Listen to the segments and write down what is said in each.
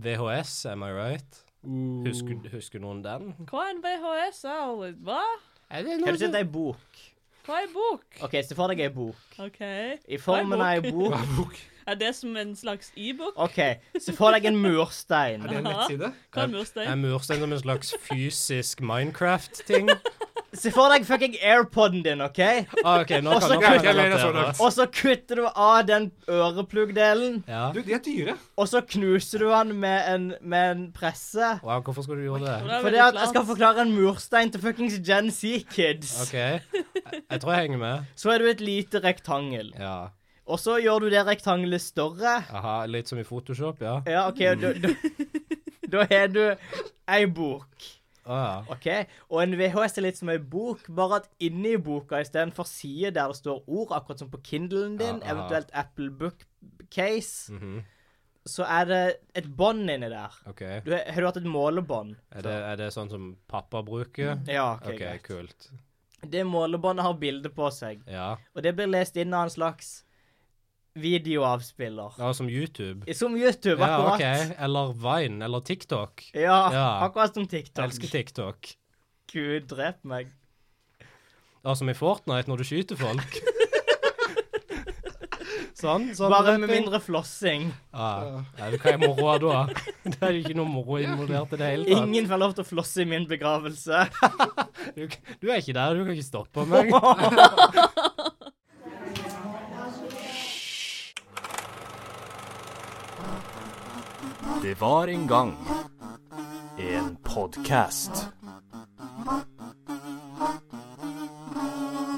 VHS, am I right? Uh. Husker, husker noen den? Hva er en VHS? Jeg har aldri Hva? Er det Kan du sette ei bok? Hva er en bok? OK, se for deg ei bok. OK. I formen av ei bok. Bok. Er det som en slags e-bok? OK, se for deg en murstein. Er det en nettside? Hva er en murstein? Er murstein som en slags fysisk Minecraft-ting? Se for deg fucking airpoden din, OK? Ah, ok, nå Også kan nå kan kan jeg jeg lene så relatere. langt. Og så kutter du av den ørepluggdelen, Ja. Du, de er dyre. og så knuser du han med en, med en presse. Wow, hvorfor skulle du gjøre Det det? er Fordi veldig at jeg skal klart. forklare en murstein til fuckings Gen Z-kids. OK, jeg, jeg tror jeg henger med. Så er du et lite rektangel. Ja. Og så gjør du det rektangelet større. Aha, litt som i Photoshop, ja. Ja, OK, og da, da, da har du ei bok. Å ja. OK? Og en VHS er litt som ei bok, bare at inni boka istedenfor side der det står ord, akkurat som på Kindlen din, Ja, aha. eventuelt Apple Book Case, Mhm, så er det et bånd inni der. OK. Du, har har du hatt et målebånd? Er det, er det sånn som pappa bruker? Ja, OK. OK, greit. kult. Det målebåndet har bilde på seg, Ja. og det blir lest inn av en slags videoavspiller. ja. Som YouTube? Som YouTube, Ja, akkurat. OK. Eller Vine, eller TikTok. Ja, Ja. akkurat som TikTok. Jeg elsker TikTok. Gud, drep meg. Ja, som i Fortnite, når du skyter folk. sånn. sånn Bare med mindre flossing. Ja. Nei, hva er moroa da? Det er jo ikke noe moro involvert i det hele tatt. Ingen får lov til å flosse i min begravelse. Du, du er ikke der, du kan ikke stoppe meg. Det var en gang en podkast.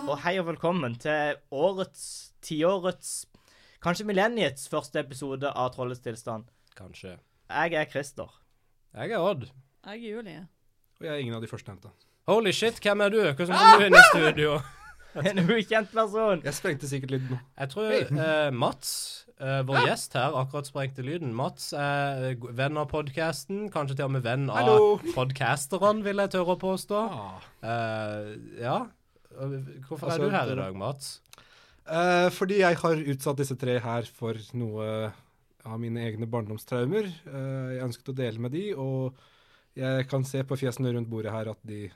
Og hei og velkommen til årets, tiårets, kanskje millenniets første episode av Trollets tilstand. Kanskje. Jeg er Christer. Jeg er Odd. Jeg er Julie. Og jeg er ingen av de førstnevnte. Holy shit, hvem er du? Hvordan Ah! kom du inn i studio? En ukjent person. Jeg sprengte sikkert litt nå. Jeg tror eh, Mats, eh, Ah! vår gjest her, akkurat sprengte lyden. Mats er eh, go- venn av podkasten. Kanskje til og med venn Hallo. av podkasterne, vil jeg tørre å påstå. Ah. Eh, ja. Hvorfor Altså, er du her det- i dag, Mats? Eh, fordi jeg har utsatt disse tre her for noe av mine egne barndomstraumer. Eh, jeg ønsket å dele med de, og jeg kan se på fjesene rundt bordet her at de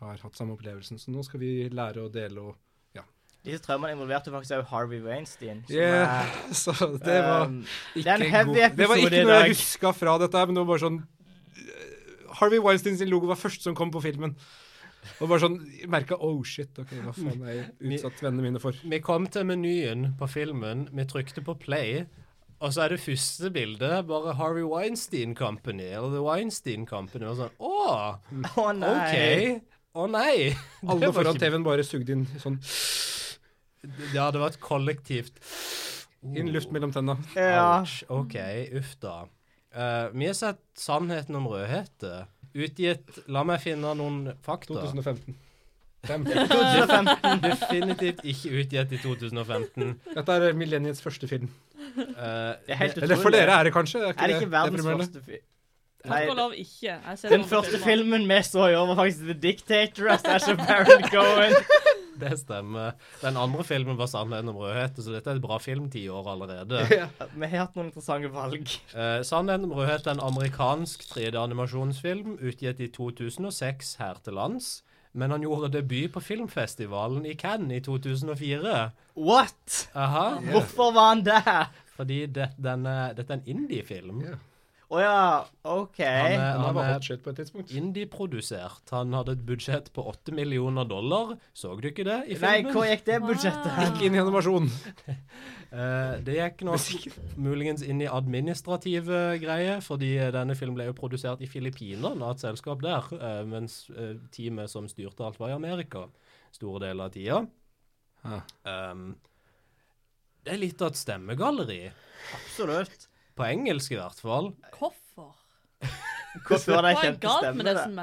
har hatt samme opplevelsen. Så nå skal vi lære å dele og Disse traumene involverte faktisk også Harvey Weinstein. som Yeah, Så det var um, det er ikke en heavy god Det var episode ikke i noe jeg dag. huska fra dette her, men det var bare sånn eh, Harvey Weinstein sin logo var først som kom på filmen. Og bare sånn merka Oh shit, OK, hva faen er jeg utsatt vennene mine for? Vi kom til menyen på filmen, vi trykte på play, og så er det første bildet bare Harvey Weinstein Company, eller The Weinstein Company, og sånn Å, Å nei. OK. Å nei. Det Alle var foran ikke- TV-en bare sugde inn sånn Ja, det var et kollektivt inn luft mellom tenna. Ja. Ouch. OK, uff da. Eh, vi har sett 'Sannheten om rødhette', utgitt La meg finne noen fakta. 2015. Defin- Definitivt ikke utgitt i 2015. Dette er millenniets første film. Eh, Det er helt Eller utrolig. for dere er det kanskje? Er det ikke verdens deprimerende? første film? Nei, Takk og lov ikke. Jeg ser den andre første filmer. filmen vi så i år, var faktisk The Dictator av Sasha Baron Cohen. Det stemmer. Den andre filmen var 'Sannheten om rødhette', så dette er et bra filmtiår allerede. Vi har hatt noen interessante valg. Eh, 'Sannheten om rødhette' er en amerikansk 3D-animasjonsfilm utgitt i 2006 her til lands. Men han gjorde debut på filmfestivalen i Cannes i 2004. What? Aha. Hvorfor var han der? Fordi det, denne, dette er en indiefilm. Ja. Å ja, OK. Han er, Den han var er hot shit på et tidspunkt. indieprodusert. Han hadde et budsjett på 8 millioner dollar. Så du ikke det i Nei, filmen? hvor gikk det budsjettet hen? Ikke inn i animasjon. Eh, det gikk nå muligens inn i administrative greier, fordi eh, denne filmen ble jo produsert i Filippinene av et selskap der, eh, mens eh, teamet som styrte alt var i Amerika store deler av tida. Ja. Ehm, det er litt av et stemmegalleri. Absolutt. På engelsk i hvert fall. Hvorfor? Hvorfor var det Hva er kjente galt med stemmer? disse det?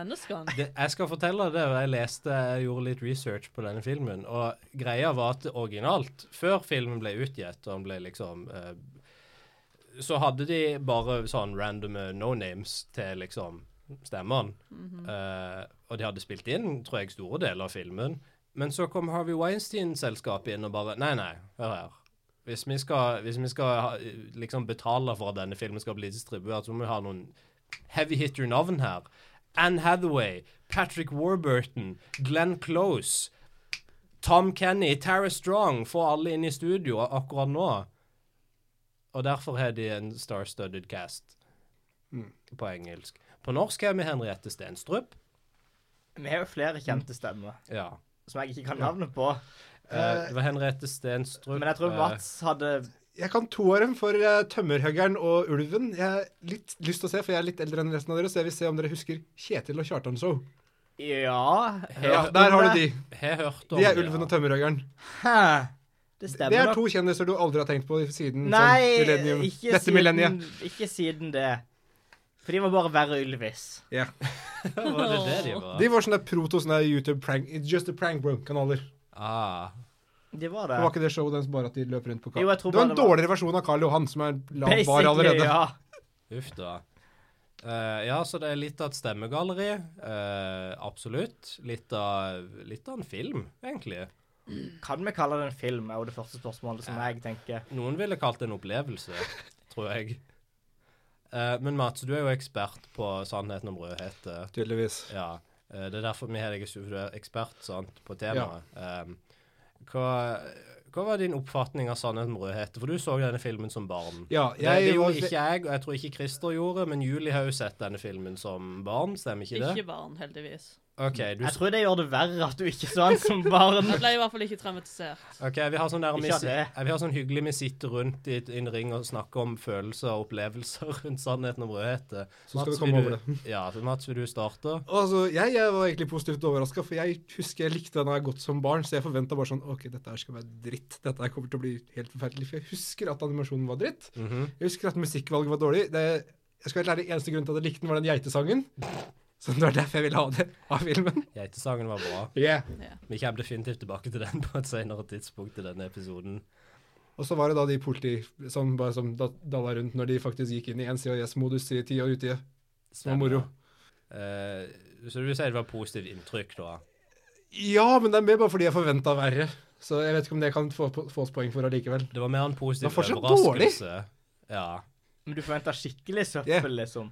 menneskene? Det, jeg skal fortelle deg det, og jeg leste, jeg gjorde litt research på denne filmen, og greia var at originalt, før filmen ble utgitt, og han ble liksom eh, Så hadde de bare sånn random no-names til liksom stemmene. Eh, og de hadde spilt inn, tror jeg, store deler av filmen. Men så kom Harvey Weinstein-selskapet inn og bare Nei, nei, hør her. Hvis vi skal, hvis vi skal ha, liksom betale for at denne filmen skal bli distribuert, så må vi ha noen heavy hitter-navn her. Anne Hathaway, Patrick Warburton, Glenn Close, Tom Kenny, Tara Strong får alle inn i studio akkurat nå. Og derfor har de en star-studded cast på engelsk. På norsk har vi Henriette Stenstrup. Vi har jo flere kjente stemmer Ja. som jeg ikke kan navnet på. Eh, det var Henriette Stenstrup. Men jeg tror eh, Mats hadde Jeg kan to av dem for eh, Tømmerhuggeren og Ulven. Jeg har litt lyst til å se, for jeg er litt eldre enn resten av dere, så jeg vil se om dere husker Kjetil og Kjartan Show. Ja, Ja, der har du de. Har hørt om De er det, Ulven ja. og Tømmerhuggeren. Hæ? Det Det stemmer er nok. to kjendiser du aldri har tenkt på siden sånn, Nei, millennium. ikke dette siden, millenniet. ikke siden det. For de var bare verre Ylvis. Ja. Var det det de var? De var sånne proto sånne YouTube prank It's just a prank bro-kanaler. Ah. De var Det det. var ikke det showet deres bare at de løp rundt på Jo, kar. jeg tror Det bare var en det var- dårligere versjon av Karl Johan, som er lav bar allerede. ja. Uff da. Eh, ja, så det er litt av et stemmegalleri. eh, absolutt. Litt av, litt av en film, egentlig. Kan vi kalle det en film, er jo det første spørsmålet som jeg tenker. Noen ville kalt det en opplevelse, tror jeg. Eh, men Mats, du er jo ekspert på sannheten om rødhette. Tydeligvis. Ja. eh, det er derfor vi har deg i studio, for du er ekspert sant, på temaet. Eh, hva, hva var din oppfatning av sannheten om rødhette? For du så denne filmen som barn. Ja, det, det jeg gjorde var ikke jeg, og jeg tror ikke Christer gjorde, men Julie har jo sett denne filmen som barn, stemmer ikke det? Ikke barn, heldigvis. OK, du, Jeg tror det gjør det verre at du ikke så han som barn. Jeg ble i hvert fall ikke traumatisert. ok, vi har sånn der vi, Ikke si- det. ja, vi har sånn hyggelig vi sitter rundt i et- i en ring og snakker om følelser og opplevelser rundt sannheten om rødhete. Så skal Mats, vi komme vil over du- Ja, så Mats, vil du starte? Altså, jeg, jeg var egentlig positivt overraska, for jeg husker jeg likte den her godt som barn. Så jeg forventa bare sånn OK, dette her skal være dritt. Dette her kommer til å bli helt forferdelig. For jeg husker at animasjonen var dritt. Mhm. Jeg husker at musikkvalget var dårlig. Det, jeg skal være ærlig, Eneste grunnen til at jeg likte den, var den geitesangen. Så det var derfor jeg ville ha det av filmen. Geitesangen var bra. Yeah. Vi kommer definitivt tilbake til den på et senere tidspunkt i denne episoden. Og så var det da de politi som bare som da- dalla rundt når de faktisk gikk inn i NCIS-modus i ti år uti. Det var moro. Eh, så du vil si det var positivt inntrykk, da? Ja, men det er mer bare fordi jeg forventa verre. Så jeg vet ikke om det kan få, få oss poeng for allikevel. Det var mer en positiv Det var fortsatt overraskelse. Ja. Men du forventer skikkelig søppel, liksom.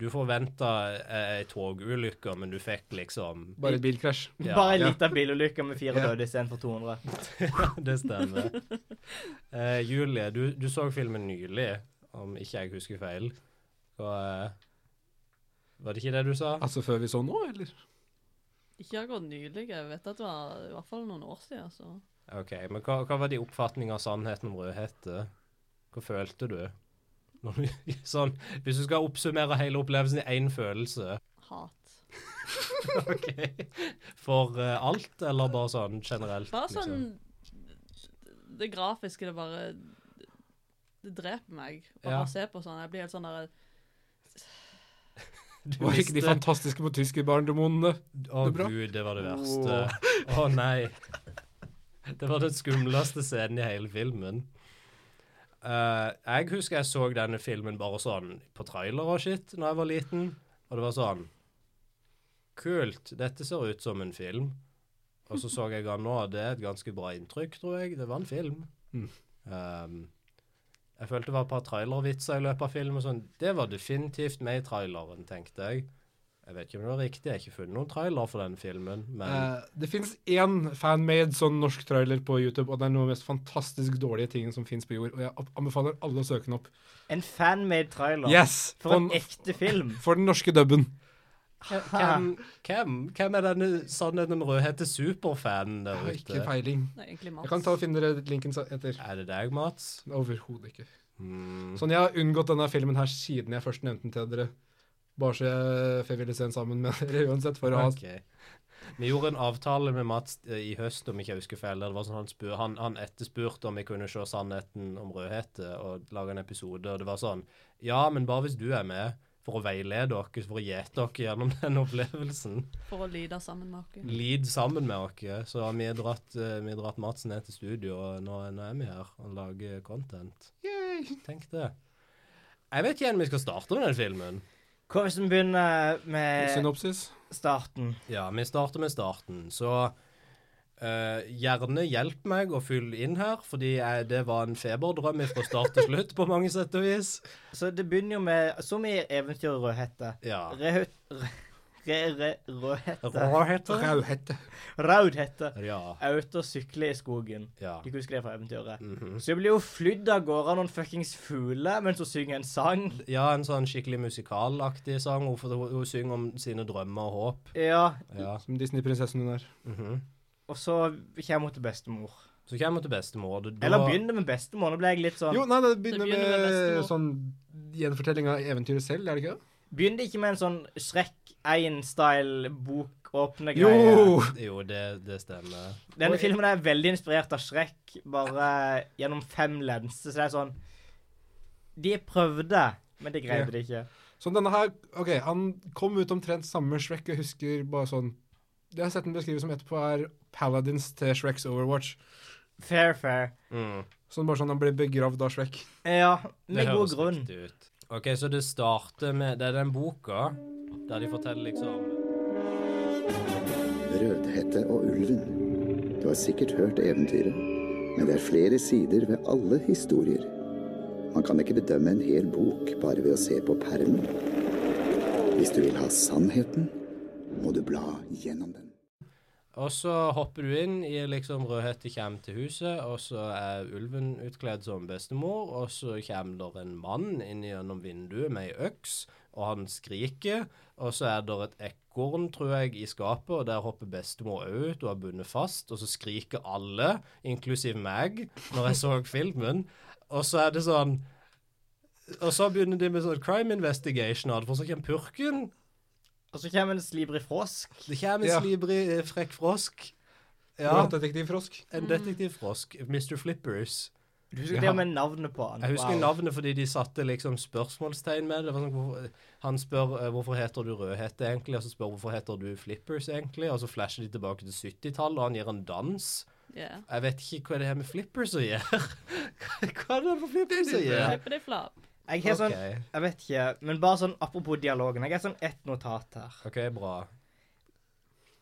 Du forventa ei togulykke, men du fikk liksom Bare et bilkrasj. Ja. Bare en Ja. liten bilulykke med fire Ja. døde istedenfor 200. Det stemmer. Eh, Julie, du, du så filmen nylig, om ikke jeg husker feil. Og, eh, var det ikke det du sa? Altså før vi så nå, eller? Ikke akkurat nylig. Jeg vet at det var i hvert fall noen år siden. Så. OK, men hva, hva var din oppfatning av sannheten om rødhette? Hva følte du? Når du sånn, hvis du skal oppsummere hele opplevelsen i én følelse Hat. ok. For eh, alt, eller bare sånn generelt? Bare sånn liksom? sånn. Det grafiske, det bare Det dreper meg bare Ja. å se på sånn. Jeg blir helt sånn der Du Var ikke de visste- fantastiske på tyskerbarndemonene? Å Det er bra. gud, det var det verste. Å nei. Det var den skumleste scenen i hele filmen. Eh, jeg husker jeg så denne filmen bare sånn på trailer og shit Når jeg var liten. Og det var sånn Kult, dette ser ut som en film. Og så så jeg den nå, og det er et ganske bra inntrykk, tror jeg. Det var en film. Mm. Ehm, jeg følte det var et par trailervitser i løpet av filmen. og Sånn. Det var definitivt med i traileren, tenkte jeg. Jeg vet ikke om det var riktig, jeg har ikke funnet noen trailer for denne filmen, men Eh, det fins én fanmade sånn norsk trailer på YouTube, og det er noe av de mest fantastisk dårlige tingene som fins på jord. Og jeg opp- anbefaler alle å søke den opp. En fanmade trailer. Yes! For en for den- ekte film. for den norske dubben. Eh, hvem, hvem, hvem er denne sannheten om rødhette superfanen der Ikke ute? peiling. Nei, egentlig Jeg Mats. kan ta og finne dere linken sa- etter. Er det deg, Mats? Overhodet ikke. Mm. Sånn, Jeg har unngått denne filmen her siden jeg først nevnte den til dere. Bare så jeg, for jeg ville se den sammen med dere uansett. for å ha... Ok. Vi gjorde en avtale med Mats eh, i høst, om ikke jeg husker feil. der Det var sånn han, spur, han, han etterspurte om vi kunne se sannheten om rødhette og lage en episode, og det var sånn Ja, men bare hvis du er med, for å veilede dere, for å gjete dere gjennom den opplevelsen. For å lide sammen med dere. Lid sammen med oss. Så vi har dratt, eh, vi har dratt Madsen ned til studio, og nå, nå er vi her og lager content. Yay! Tenk det. Jeg vet ikke igjen om vi skal starte med den filmen. Hva hvis vi begynner med Synopsis. starten? Ja, vi starter med starten. Så eh, Eh, gjerne hjelp meg å fylle inn her, fordi jeg, det var en feberdrøm fra start til slutt, på mange sett og vis. Så det begynner jo med Som i eventyret Rødhette. Ja. Rødhette Rødhette. Råheter? Rauhette. Raudhette. Ja. Jeg er ute og sykler i skogen. ja. Du husker det fra eventyret? Mhm. Så jeg blir jo flydd av gårde av noen fuckings fugler mens hun synger en sang. Ja, en sånn skikkelig musikalaktig sang. Hun, for hun, hun synger om sine drømmer og håp. Ja, Ja. Som Disney-prinsessen hun er. mhm. og så kommer hun til bestemor. Så kommer hun til bestemor. og da- Eller begynner med bestemor. Nå ble jeg litt sånn Jo, nei, Det det begynner begynner med med bestemor. sånn gjenfortelling av eventyret selv, er det ikke det? Begynner ikke med en sånn Shrek 1-style bokåpne greie. Jo! Jo, det, det stemmer. Denne filmen er veldig inspirert av Shrek, bare gjennom fem lenser. Så det er sånn De prøvde, men de greide det ikke. Så Sånn, denne her OK, han kom ut omtrent samme Shrek, jeg husker bare sånn Det jeg har sett den beskrives som etterpå, er Paladins til Shreks Overwatch. Fair, fair. Mm. Sånn bare sånn han ble begravd av Shrek. Ja, Det med god høres grunn. riktig ut. OK, så det starter med Det er den boka der de forteller liksom Rødhette og ulven. Du har sikkert hørt eventyret, men det er flere sider ved alle historier. Man kan ikke bedømme en hel bok bare ved å se på permen. Hvis du vil ha sannheten, må du bla gjennom den. Og så hopper du inn i liksom Rødhette kommer til huset, og så er ulven utkledd som bestemor, og så kommer der en mann inn gjennom vinduet med ei øks, og han skriker, og så er der et ekorn, tror jeg, i skapet, og der hopper bestemor òg ut og er bundet fast, og så skriker alle, inklusiv meg, når jeg så filmen, og så er det sånn og så begynner de med sånn crime investigation, og for så kommer purken. Og så kommer en slibrig frosk. Det kommer en Ja. slibrig, eh, frekk frosk. Ja. Detektiv Frosk. En detektivfrosk, Mr. Flippers. Du husker Ja. det med navnet på han? Jeg husker Wow. navnet fordi de satte liksom spørsmålstegn med det. det. var sånn, hvorfor, han spør eh, hvorfor heter du Rødhette egentlig, og så spør hvorfor heter du Flippers egentlig, og så flasher de tilbake til 70-tallet, og han gir en dans. Yeah. Jeg vet ikke hva det er med Flippers å gjøre. hva er det med Flippers å gjøre? Flipper de flap. Jeg har sånn, Ok. jeg vet ikke, men bare sånn apropos dialogen. Jeg har sånn ett notat her. OK, bra.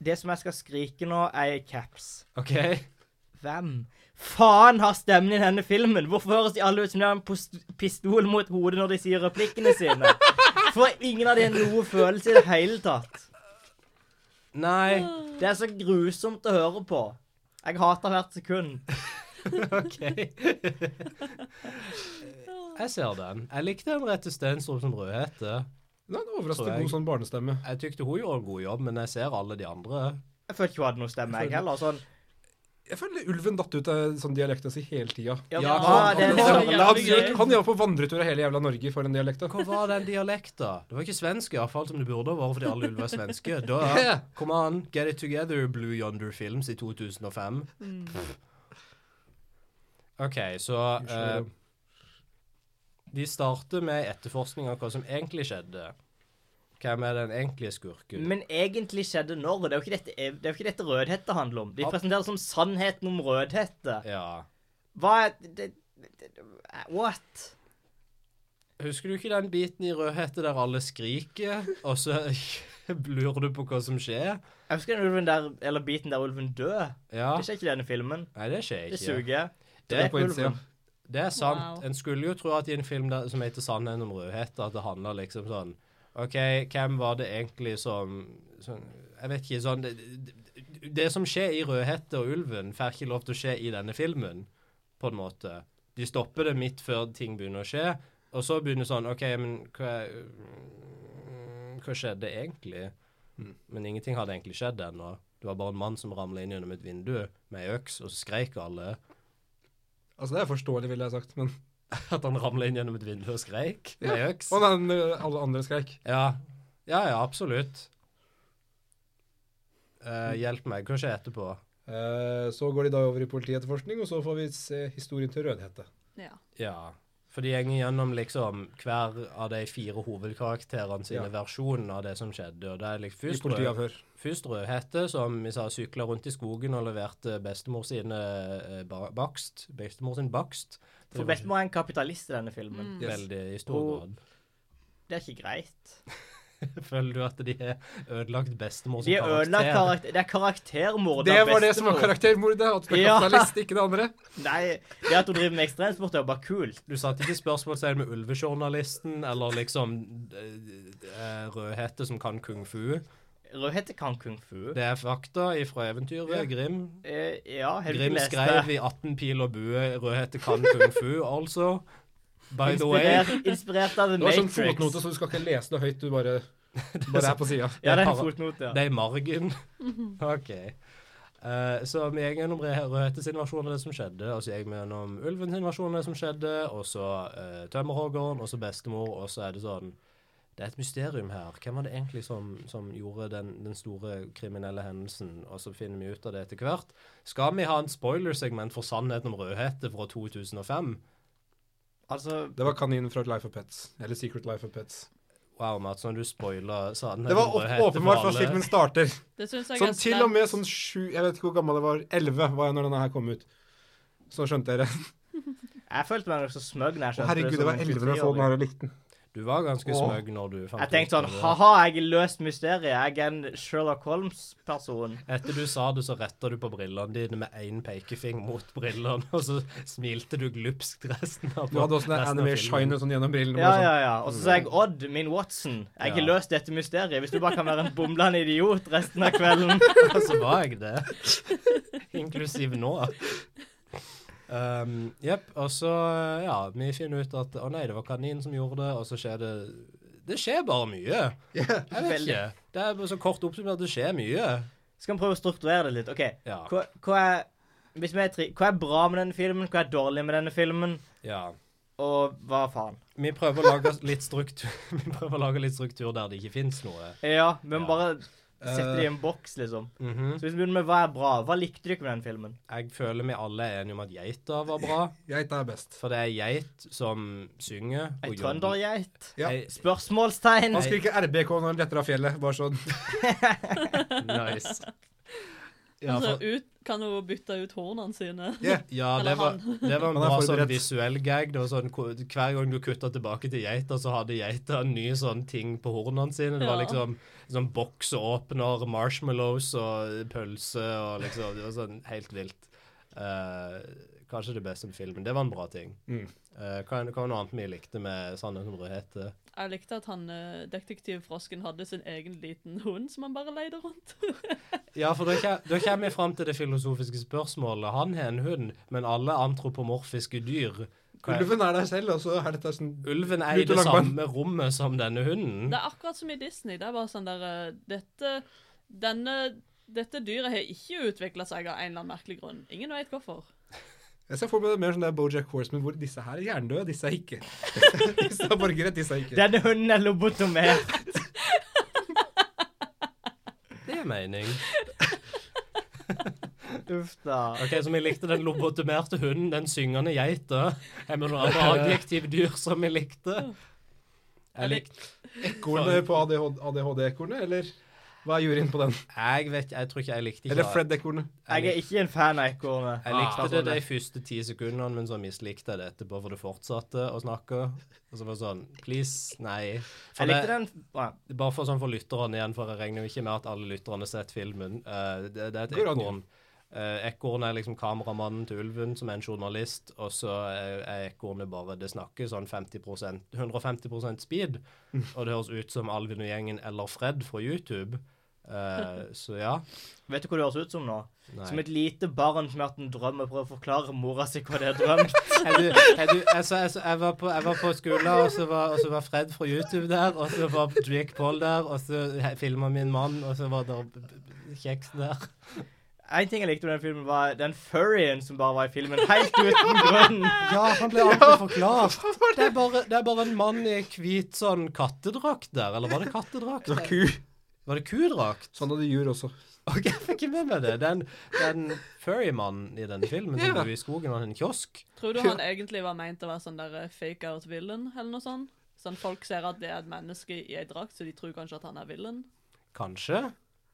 Det som jeg skal skrike nå, er i caps. OK. Hvem faen har stemmen i denne filmen? Hvorfor høres de alle ut som de har en post- pistol mot hodet når de sier replikkene sine? For ingen av de har noe følelse i det hele tatt. Nei. Det er så grusomt å høre på. Jeg hater hvert sekund. OK. Jeg ser den. Jeg likte Henriette Stensrup som Rødhette. Det er en Tror overraskende jeg. god sånn barnestemme. Jeg tykte hun gjorde en god jobb, men jeg ser alle de andre. Jeg følte ikke hun hadde noe stemme, jeg heller. Sånn Jeg føler ulven datt ut av sånn dialekta si hele tida. Ja, Ja, hva er det Han er det? så han- jævlig gøy. han var på vandretur av hele jævla Norge for en dialekt. Hva var den dialekta? Det var ikke svensk, iallfall, som det burde ha vært, fordi alle ulver er svenske. Da, Come on, Get It Together, Blue Yonder Films i 2005. Mm. OK, så eh, de starter med etterforskning av hva som egentlig skjedde. Hvem er den egentlige skurken? Men egentlig skjedde når? Det er jo ikke dette, det er jo ikke dette Rødhette handler om. De presenterer det som sannheten om Rødhette. Ja. Hva er det, det, det, What? Husker du ikke den biten i Rødhette der alle skriker, og så lurer du på hva som skjer? Jeg husker den ulven der, eller biten der ulven dør. Ja. Det skjer ikke i denne filmen. Nei, det skjer Det ikke. suger. Det er Drep på innsiden. ulven. Det er sant. Wow. En skulle jo tro at i en film der, som heter 'Sannheten om rødhette', at det handler liksom sånn OK, hvem var det egentlig som, som Jeg vet ikke, sånn det, det, det som skjer i 'Rødhette og ulven', får ikke lov til å skje i denne filmen, på en måte. De stopper det midt før ting begynner å skje, og så begynner sånn OK, men hva Hva skjedde egentlig? Men ingenting hadde egentlig skjedd ennå. Det var bare en mann som ramla inn gjennom et vindu med ei øks, og så skreik alle. Altså, det er forståelig, ville jeg sagt, men At han ramla inn gjennom et vindu og skreik med øks? Å nei, men, ø, alle andre skreik. Ja. ja, ja, absolutt. Eh, hjelp meg, hva skjer etterpå? Eh, Så går de da over i politietterforskning, og så får vi se historien til Rødhette. Ja. Ja. For de går gjennom liksom hver av de fire hovedkarakterene sine Ja. versjoner av det som skjedde. og det er liksom I først Rød- politiavhør. Først Rødhette, som vi sa sykla rundt i skogen og leverte bestemor sine eh, ba- bakst. Bestemor sin bakst. For Mm. Bestemor er en kapitalist i denne filmen. Yes. Veldig i stor Og- grad. Det er ikke greit. Føler du at de har ødelagt bestemor som De er ødelagt karakter? karakter... Det er karaktermord. Det av var det som var bestemor. karaktermordet. At det var Ja. kapitalist, ikke det andre. Nei, det at hun driver med ekstremsport, er jo bare kult. Du satte ikke spørsmålstegn med ulvejournalisten eller liksom eh, eh, Rødhette som kan kung fu. Rødhette kan kung fu. Det er fakta fra eventyret. Grim. Eh, ja, har du ikke Grim lest skrev det? i 18 pil og bue Rødhette kan kung fu, altså. By the way. Inspirert, inspirert av The Det var sånn Matrix. fotnote, så du skal ikke lese det høyt. Du bare, bare er på sida. Ja, det er en Para- fotnote, ja. Det er i margen. Mhm. OK. Eh, så vi gikk gjennom Re- Rødhettes invasjon av det som skjedde, og så gikk vi gjennom ulvens invasjon av det som skjedde, og så uh, tømmerhoggeren, og så bestemor, og så er det sånn Det er et mysterium her. Hvem var det egentlig som, som gjorde den, den store kriminelle hendelsen? Og så finner vi ut av det etter hvert. Skal vi ha en spoilersegment for sannheten om Rødhette fra 2005? Altså, Det var kaninen fra Life of Pets. Eller Secret Life of Pets. Wow, Mats, når du spoiler sannheten Det var om åp- Rødhette for åpenbart fra alle. filmen starter. Det syns jeg Sånn er til og med sånn sju Jeg vet ikke hvor gammel jeg var. Elleve var jeg når denne her kom ut. Så skjønte sånn dere. jeg følte meg så smøgg når jeg Å, skjønte herregud, det som var en elleve da jeg så 23-åring. den her og likte den. Du var ganske Åh. smøg når du fant Jeg tenkte av sånn det. Ha-ha, jeg har løst mysteriet. Jeg er en Sherlock Holmes-person. Etter du sa det, så retta du på brillene dine med én pekefing mot brillene, og så smilte du glupskt resten av Du hadde også den resten av anime filmen. shine sånn gjennom brillene. Ja, bare ja, sånn. ja. Og så sa jeg Odd, min Watson. Jeg har Ja. løst dette mysteriet. Hvis du bare kan være en bomlende idiot resten av kvelden. Og så var jeg det. Inklusiv nå. Um, Jepp. og så, ja, vi finner ut at å nei, det var kaninen som gjorde det, og så skjer det Det skjer bare mye. Jeg vet ikke. Det er bare så kort oppsummert, det skjer mye. Skal vi prøve å strukturere det litt? OK. Ja. Hva, hva, er, hvis vi er tri hva er bra med denne filmen? Hva er dårlig med denne filmen? ja. Og hva faen? Vi prøver å lage litt struktur, vi prøver å lage litt struktur der det ikke fins noe. Ja, vi må Ja. Eh, bare sette det i en boks, liksom. Mhm. Så hvis vi begynner med hva er bra, hva likte du ikke med den filmen? Jeg føler vi alle er enige om at geita var bra. Geita er best. For det er geit som synger. Ei og jobber- trøndergeit? Ja. Ei- Spørsmålstegn? Han skriker RBK når han letter av fjellet. Bare sånn. Nice. Ja, Altså, for, ut, kan hun bytte ut hornene sine? Yeah. ja det, Eller var, det var en Han er bra sånn forberedt. visuell gag. Det var sånn, ko- Hver gang du kutta tilbake til geita, så hadde geita en ny sånn ting på hornene sine. Det var Ja. liksom sånn boksåpner, marshmallows og pølse og liksom Det var sånn helt vilt. Eh, kanskje det beste med filmen. Det var en bra ting. Mm. Eh, hva, hva var noe annet vi likte med 'Sannheten om rødhette'? Jeg likte at han, eh, detektiv Frosken hadde sin egen liten hund som han bare leide rundt. Ja, for da kje- da kommer vi fram til det filosofiske spørsmålet. Han har en hund, men alle antropomorfiske dyr. Hva er- Ulven er der selv, og så er dette sånn Ulven er i Lut og det langbein. samme rommet som denne hunden. Det er akkurat som i Disney. Det er bare sånn der eh, Dette, denne, dette dyret har ikke utvikla seg av en eller annen merkelig grunn. Ingen veit hvorfor. Jeg ser for meg det mer sånn der Bojack Horseman, hvor disse her er jerndøde, disse er ikke. disse er borgere, disse er ikke. Denne hunden er lobotomert. Det er mening. Uff da. Ok, Så vi likte den lobotomerte hunden, den syngende geita. Er vi noen andre adjektivdyr som vi likte? Jeg, lik, Ekornet på ADHD-ekornet, eller hva er juryen på den? jeg vet Jeg tror ikke jeg likte ikke Eller Fred-ekornet? Jeg er ikke sånn, en fan av Ah, ekornet. Jeg likte det de første ti sekundene, men så mislikte jeg det etterpå, for det fortsatte å snakke. Og så var det sånn Please, nei. For Jeg det- likte den ah, Bare for sånn for lytterne igjen, for jeg regner jo ikke med at alle lytterne har sett filmen. Eh, det, det er et Går an, ekorn. Eh, ekorn er liksom kameramannen til ulven, som er en journalist, og så er- er ekornet bare Det snakker sånn 50 150 speed, og det høres ut som Alvin og gjengen eller Fred fra YouTube. Eh, så ja. Vet du hva det høres ut som nå? Som Nei. et lite barn som har hatt en drøm og prøver å forklare mora si hva det er drømt. Er du, er du, jeg, så, jeg, så, jeg, var på, jeg var på skolen, og så var, og så var Fred fra YouTube der, og så var Jake Paul der, og så filma min mann, og så var det kjeks der. En ting jeg likte med den filmen, var den furryen som bare var i filmen, helt uten grunn. Ja, han ble aldri forklart. Det er, bare, det er bare en mann i hvit sånn kattedrakt der. Eller var det kattedrakt? Det var ku. Var det kudrakt? Sånn hadde jur også. Ok, jeg fikk ikke med meg det. Den, den furrymannen i denne filmen som Ja. bor i skogen, han har en kiosk. Tror du han egentlig var meint å være sånn der eh, fake out villain, eller noe sånt? Sånn folk ser at det er et menneske i ei drakt, så de tror kanskje at han er villain. Kanskje.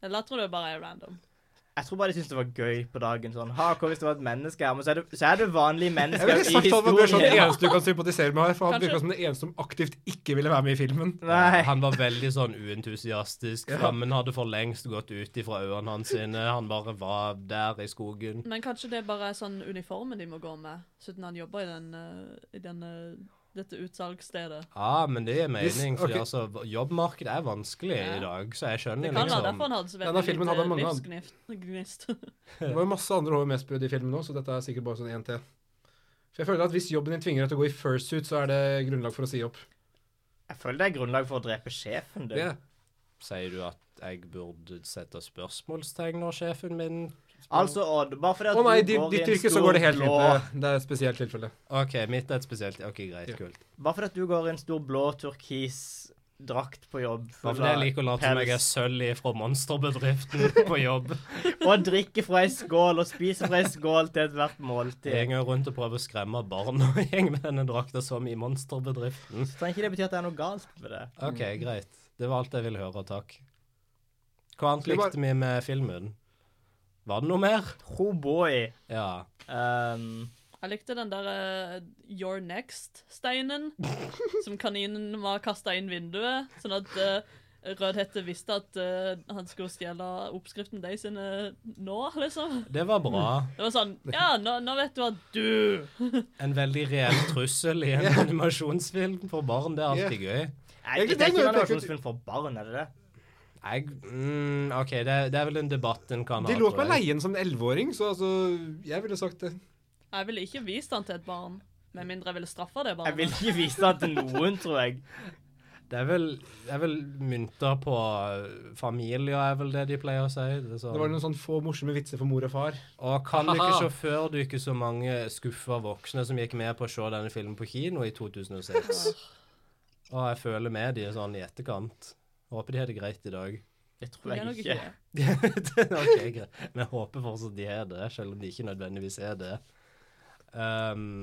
Eller jeg tror det bare er random. Jeg tror bare de syntes det var gøy på dagen. sånn, ha, Hva hvis det var et menneske her? Men så er det, så er det vanlige Jeg mennesker ville i sagt at han blir sånn den historien. eneste du kan sympatisere med her, for han Kanskje- virka som den eneste som aktivt ikke ville være med i filmen. Nei. Han var veldig sånn uentusiastisk. Flammen hadde for lengst gått ut ifra ørene hans sine. Han bare var der i skogen. Men kanskje det bare er sånn uniformen de må gå med, siden han jobber i, den, eh, i den, eh, dette utsalgsstedet. Ja, men det gir Hvis- mening, for ok. altså, jobbmarkedet er vanskelig Ja. i dag, så jeg Det skjønner kan være liksom derfor han hadde så Denne veldig filmen hadde mange- lite livsgnist. Det var jo masse andre HMS-brudd i filmen òg, så dette er sikkert bare sånn én til. For jeg føler at Hvis jobben din tvinger deg til å gå i fursuit, så er det grunnlag for å si opp. Jeg føler det er grunnlag for å drepe sjefen, du. Det. Sier du at jeg burde sette spørsmålstegn når sjefen min Altså, Odd, bare fordi Å at nei, du i går i ditt en yrke så stor går det helt blå fint. Det- Det er et spesielt tilfelle. OK, mitt er et spesielt OK, greit, Ja. kult. Bare fordi at du går i en stor blå turkis drakt på jobb Bare fordi jeg liker å late som jeg er pels, sølv fra monsterbedriften på jobb. og drikker fra ei skål og spiser fra ei skål til ethvert måltid. Jeg går rundt og prøver å skremme barn og gjeng med denne drakta som i monsterbedriften. Så trenger ikke det bety at det er noe galt med det. OK, greit. Det var alt jeg ville høre, takk. Hva annet Skal vi bare- likte vi med filmen? Var det noe mer? Ho boy. Ja. Um, Jeg likte den der eh, Your Next-steinen som kaninen var kasta inn vinduet, sånn at uh, Rødhette visste at eh, han skulle stjele oppskriften de sine nå, liksom. Det var bra. Det var sånn Ja, nå, nå vet du at du En veldig reell trussel i en animasjonsfilm for barn. Det er alltid gøy. nei, Egentlig det er tenker ikke jeg en tenker- animasjonsfilm for barn, er det det? Jeg mm, OK, det, er- det er vel en debatt en kan ha. De lot tror meg jeg. leie den som en elleveåring, så altså Jeg ville sagt det. Jeg ville ikke vist han til et barn, med mindre jeg ville straffa det Jeg vil barnet. ikke vise det til noen, tror jeg. Det er vel, det er vel mynter på eh, familier, er vel det de pleier å si. Det er sånn. Det var noen sånn få morsomme vitser for mor og far. Og kan du ikke Haha. sjåfør du ikke så mange skuffa voksne som gikk med på å se denne filmen på kino i 2006? Og jeg føler med de sånn i etterkant. Håper de har det greit i dag. Det tror Det er jeg nok ikke. ikke det. ok, greit. Men jeg håper fortsatt de har det, selv om de ikke nødvendigvis er det. Ehm,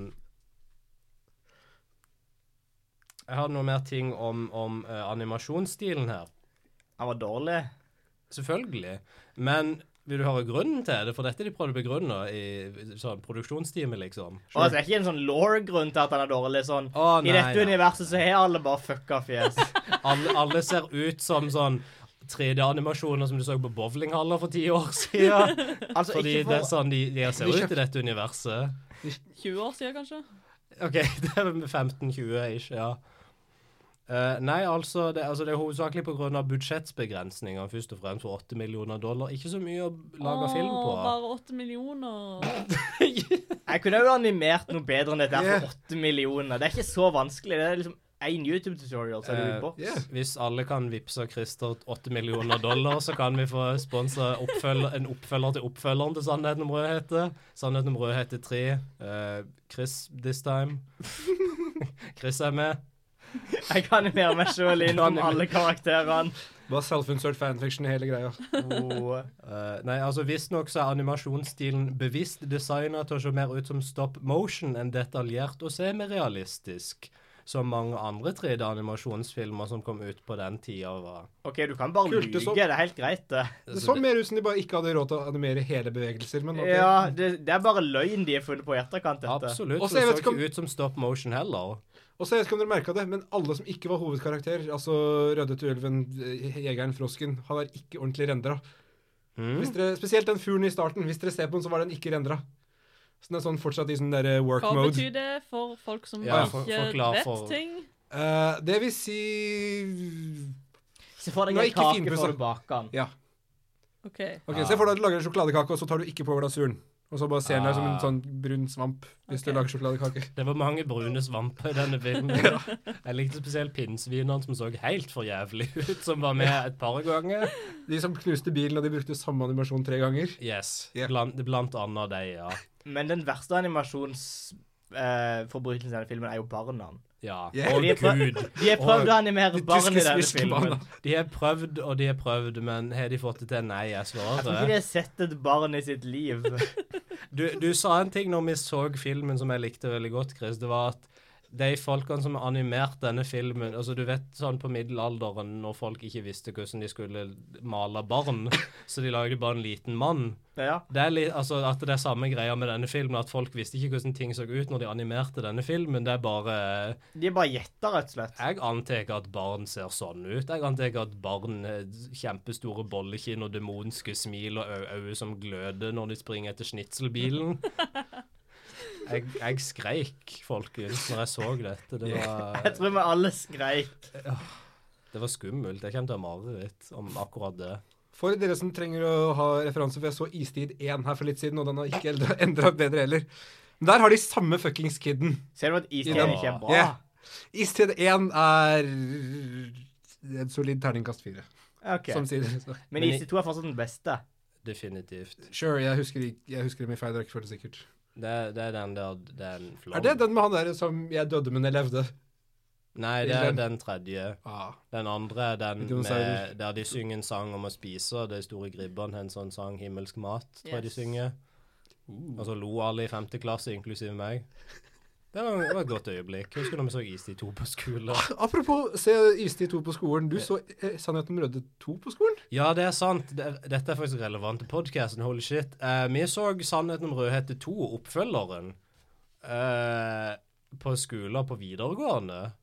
jeg har noe mer ting om, om eh, animasjonsstilen her. Han var dårlig. Selvfølgelig. Men vil du høre grunnen til det? For dette de prøvde å begrunne i sånn produksjonsteamet, liksom. Og altså, det er ikke en sånn law-grunn til at han er dårlig. sånn. Å, I nei, dette nei. universet så har alle bare fucka fjes. Alle, alle ser ut som sånn 3D-animasjoner som du så på bowlinghaller for ti år siden. Altså, Fordi ikke det er for... sånn de, de ser De ut i dette universet. 20 år siden, kanskje? OK, det er vel 15-20-ish, ja. Eh, nei, altså det, altså det er hovedsakelig pga. budsjettbegrensninger, først og fremst for 8 millioner dollar. Ikke så mye å lage film Åh, på. Bare 8 millioner. Jeg kunne jo animert noe bedre enn dette her Yeah. for åtte millioner. Det er ikke så vanskelig. Det er liksom én YouTube-tutorial, så er du Eh, i boks. yeah. Hvis alle kan vippse Christer 8 millioner dollar, så kan vi få sponsa oppfølger, en oppfølger til oppfølgeren til Sannheten om rødhette. Sannheten om rødhette 3. eh, Chris this time. Chris er med. Jeg kan animere meg sjøl inn som alle karakterene. Bare self-insert fanfiction i hele greia. Oh. Eh, nei, altså Visstnok så er animasjonsstilen bevisst designa til å se mer ut som stop motion enn detaljert og semirealistisk, som mange andre 3D-animasjonsfilmer som kom ut på den tida, var. OK, du kan bare Kult, det lyge. så- Det er helt greit, det. Det så mer ut som de bare ikke hadde råd til å animere hele bevegelser. men ok. Ja, det, det er bare løgn de har funnet på i etterkant. dette. Absolutt. Og så Det jeg så vet ikke om- ikke ut som stop motion heller. Og så jeg vet ikke om dere merket det, men alle som ikke var hovedkarakter, altså Rødhette, Ulven, eh, Jegeren, Frosken, han er ikke ordentlig rendra. Hvis dere, spesielt den fuglen i starten. Hvis dere ser på den, så var den ikke rendra. Så den er sånn fortsatt i sånn derre work Hva mode. betyr det for folk som Ja, for- ikke forklar vet for- ting? Eh, det vil si Se for deg Nå er en ikke kake finpussa. før du baker den. Ja. OK. Ok, Se for deg at du lager en sjokoladekake, og så tar du ikke på glasuren. Og så bare ser den deg som en sånn brun svamp hvis Ok. du lager sjokoladekake. Det var mange brune svamper i denne filmen. Jeg likte spesielt pinnsvinene som så helt for jævlig ut, som var med et par ganger. De som knuste bilen, og de brukte samme animasjon tre ganger. Yes. Ja. Blant, blant annet de, ja. Men den verste animasjonsforbrytelsen i denne filmen er jo barna. ja. Ja. Å, De har prøv- gud. de har prøvd å animere de barn i tyske denne sviskebarna. filmen. De har prøvd og de har prøvd, men har de fått det til? Nei, jeg Jeg tror ikke de svarer. har sett et barn i sitt liv. Du, du sa en ting når vi så filmen som jeg likte veldig godt, Chris. Det var at de folkene som har animert denne filmen altså Du vet sånn på middelalderen når folk ikke visste hvordan de skulle male barn, så de lagde bare en liten mann. Ja. Det er litt, altså At det er samme greia med denne filmen, at folk visste ikke hvordan ting så ut når de animerte denne filmen. Det er bare De bare gjetter, rett og slett. Jeg antar at barn ser sånn ut. Jeg antar at barn har kjempestore bollekinn og demonske smil og ø- øyne som gløder når de springer etter snitselbilen. Jeg, jeg skreik, folkens, når jeg så dette. Det Jeg var, tror vi alle skreik. det var skummelt. Jeg kommer til å ha mareritt om akkurat det. For dere som trenger å ha referanse, for jeg så Istid 1 her for litt siden, og den har ikke endra bedre heller. Men der har de samme fuckings kidden. Ser du at I isen den- ikke er bra? Ja. Istid 1 er en solid terningkast fire, Ok. som sier det. Men isen 2 er fortsatt den beste. Definitivt. Sure, jeg husker, ikke- jeg husker dem i feil rekkefølge, sikkert. Det, det er den der den Er det den med han der som jeg døde, men jeg levde? Nei, det er den tredje. Ah. Den andre er den Dinosaurer. med, der de synger en sang om å spise, og de store gribbene har en sånn sang 'Himmelsk mat', tror jeg de Yes. synger. Og så lo alle i femte klasse, inklusive meg. Det var, det var et godt øyeblikk. Husker du da vi så Istid 2 på skole? Apropos se Istid 2 på skolen. Du så eh, Sannheten om Rødde 2 på skolen? Ja, det er sant. Det, dette er faktisk relevant til podkasten. Holy shit. Eh, vi så 'Sannheten om Rødhette 2', oppfølgeren, eh, på skoler på videregående.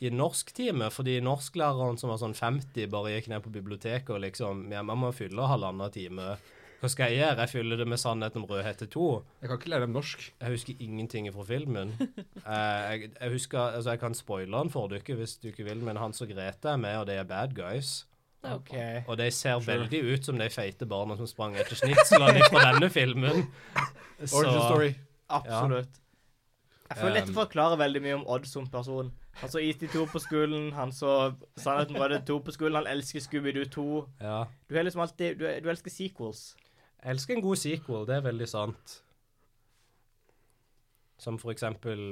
I norsktime, fordi norsklæreren som var sånn 50, bare gikk ned på biblioteket og liksom ja, 'Man må fylle halvannen time'. Hva skal jeg gjøre? Jeg fyller det med 'Sannheten om Rødhette 2'. Jeg kan ikke lære dem norsk. Jeg husker ingenting fra filmen. Eh, jeg, jeg husker, altså jeg kan spoile den for dere hvis du ikke vil, men Hans og Grete er med, og de er bad guys. Det er jo bra. Og de ser veldig ut som de feite barna som sprang etter snitslene fra denne filmen. Så Origin story. Absolutt. Jeg føler dette Um, forklarer veldig mye om Odd som person. Han så Easy 2 på skolen, han så Sannheten var det 2 på skolen, han elsker Scooby-Doo 2. ja. Du, er liksom alltid, du, er- du elsker sequels. Jeg elsker en god sequel, det er veldig sant. Som for eksempel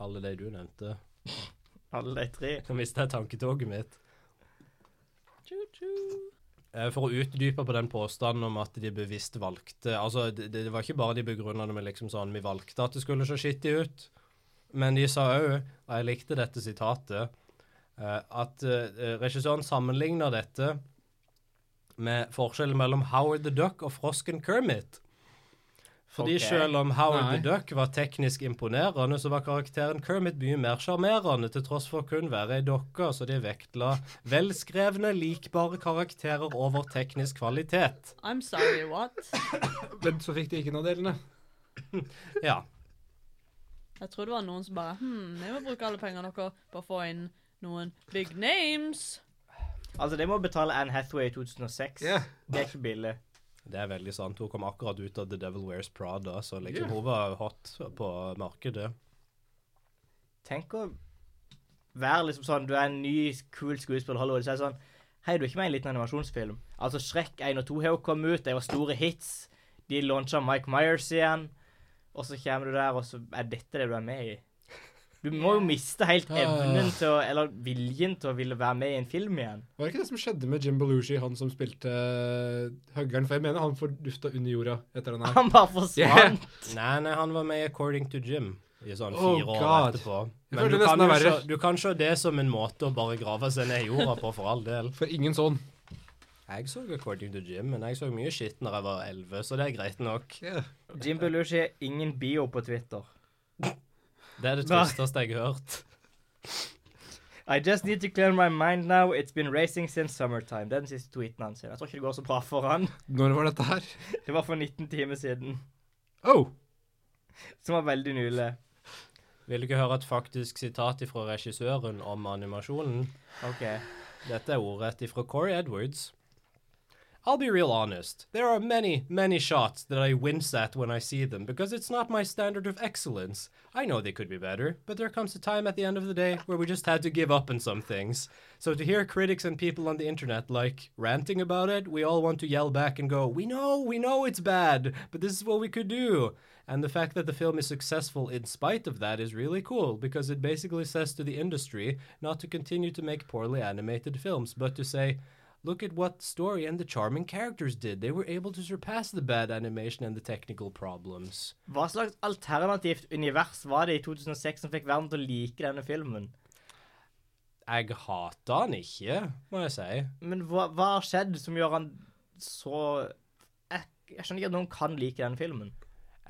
alle de du nevnte. Alle de tre. Nå mistet jeg tanketoget mitt. Choo-choo. Eh, For å utdype på den påstanden om at de bevisst valgte Altså, det, det var ikke bare de begrunna det med liksom sånn Vi valgte at det skulle se skittig ut. Men de sa òg, og jeg likte dette sitatet, eh, at eh, regissøren sammenligna dette med forskjellen mellom Howard the Duck og frosken Kermit. Fordi Ok. selv om Howard Nei. the Duck var teknisk imponerende, så var karakteren Kermit mye mer sjarmerende, til tross for kun være ei dokke, så de vektla velskrevne, likbare karakterer over teknisk kvalitet. I'm sorry, what? Men så fikk de ikke noe av delene. Ja. Jeg tror det var noen som bare Hm, jeg må bruke alle pengene dere på å få inn noen big names. Altså, de må betale Anne Hathaway i 2006. Ja. Det er ikke billig. Det er veldig sant. Hun kom akkurat ut av The Devil Wears Prada, så liksom hun var hot på markedet. Tenk å være liksom sånn Du er en ny, cool skuespiller i Hollywood, så er det sånn Hei, du er ikke med i en liten animasjonsfilm? Altså, Shrek 1 og 2 har jo kommet ut, de var store hits. De launcha Mike Myers igjen. Og så kommer du der, og så er dette det du er med i. Du må jo miste helt evnen til å Eller viljen til å ville være med i en film igjen. Var det ikke det som skjedde med Jim Belushi, han som spilte eh, huggeren? For jeg mener han fordufta under jorda etter den her. Han bare forsvant. Nei, nei, han var med i According to Jim i sånn Oh, fire år God. etterpå. Jeg Men følte du kan, nesten jo det er se, verre. du kan se det som en måte å bare grave seg ned i jorda på, for all del. For ingen sånn. Jeg så According to Jim, men jeg så mye skitt når jeg var 11, så det er greit nok. Jim Belushi, ingen bio på Twitter. Det er det Nei. tristeste jeg har hørt. I just need to clear my mind now. It's been racing since summertime. Det er den siste tweeten hans. Jeg tror ikke det går så bra for han. Når var dette her? Det var for 19 timer siden. Oh! Som var veldig nylig. Vil du ikke høre et faktisk sitat fra regissøren om animasjonen? OK. Dette er ordrett fra Corey Edwards. I'll be real honest. There are many, many shots that I wince at when I see them because it's not my standard of excellence. I know they could be better, but there comes a time at the end of the day where we just had to give up on some things. So to hear critics and people on the internet like ranting about it, we all want to yell back and go, "We know, we know it's bad, but this is what we could do." And the fact that the film is successful in spite of that is really cool because it basically says to the industry not to continue to make poorly animated films, but to say, Look at what story and the charming characters did. They were able to surpass the bad animation and the technical problems. Hva slags alternativt univers var det i 2006 som fikk verden til å like denne filmen? Jeg hater han ikke, må jeg si. Men hva, hva har skjedd som gjør han så jeg, jeg skjønner ikke at noen kan like denne filmen.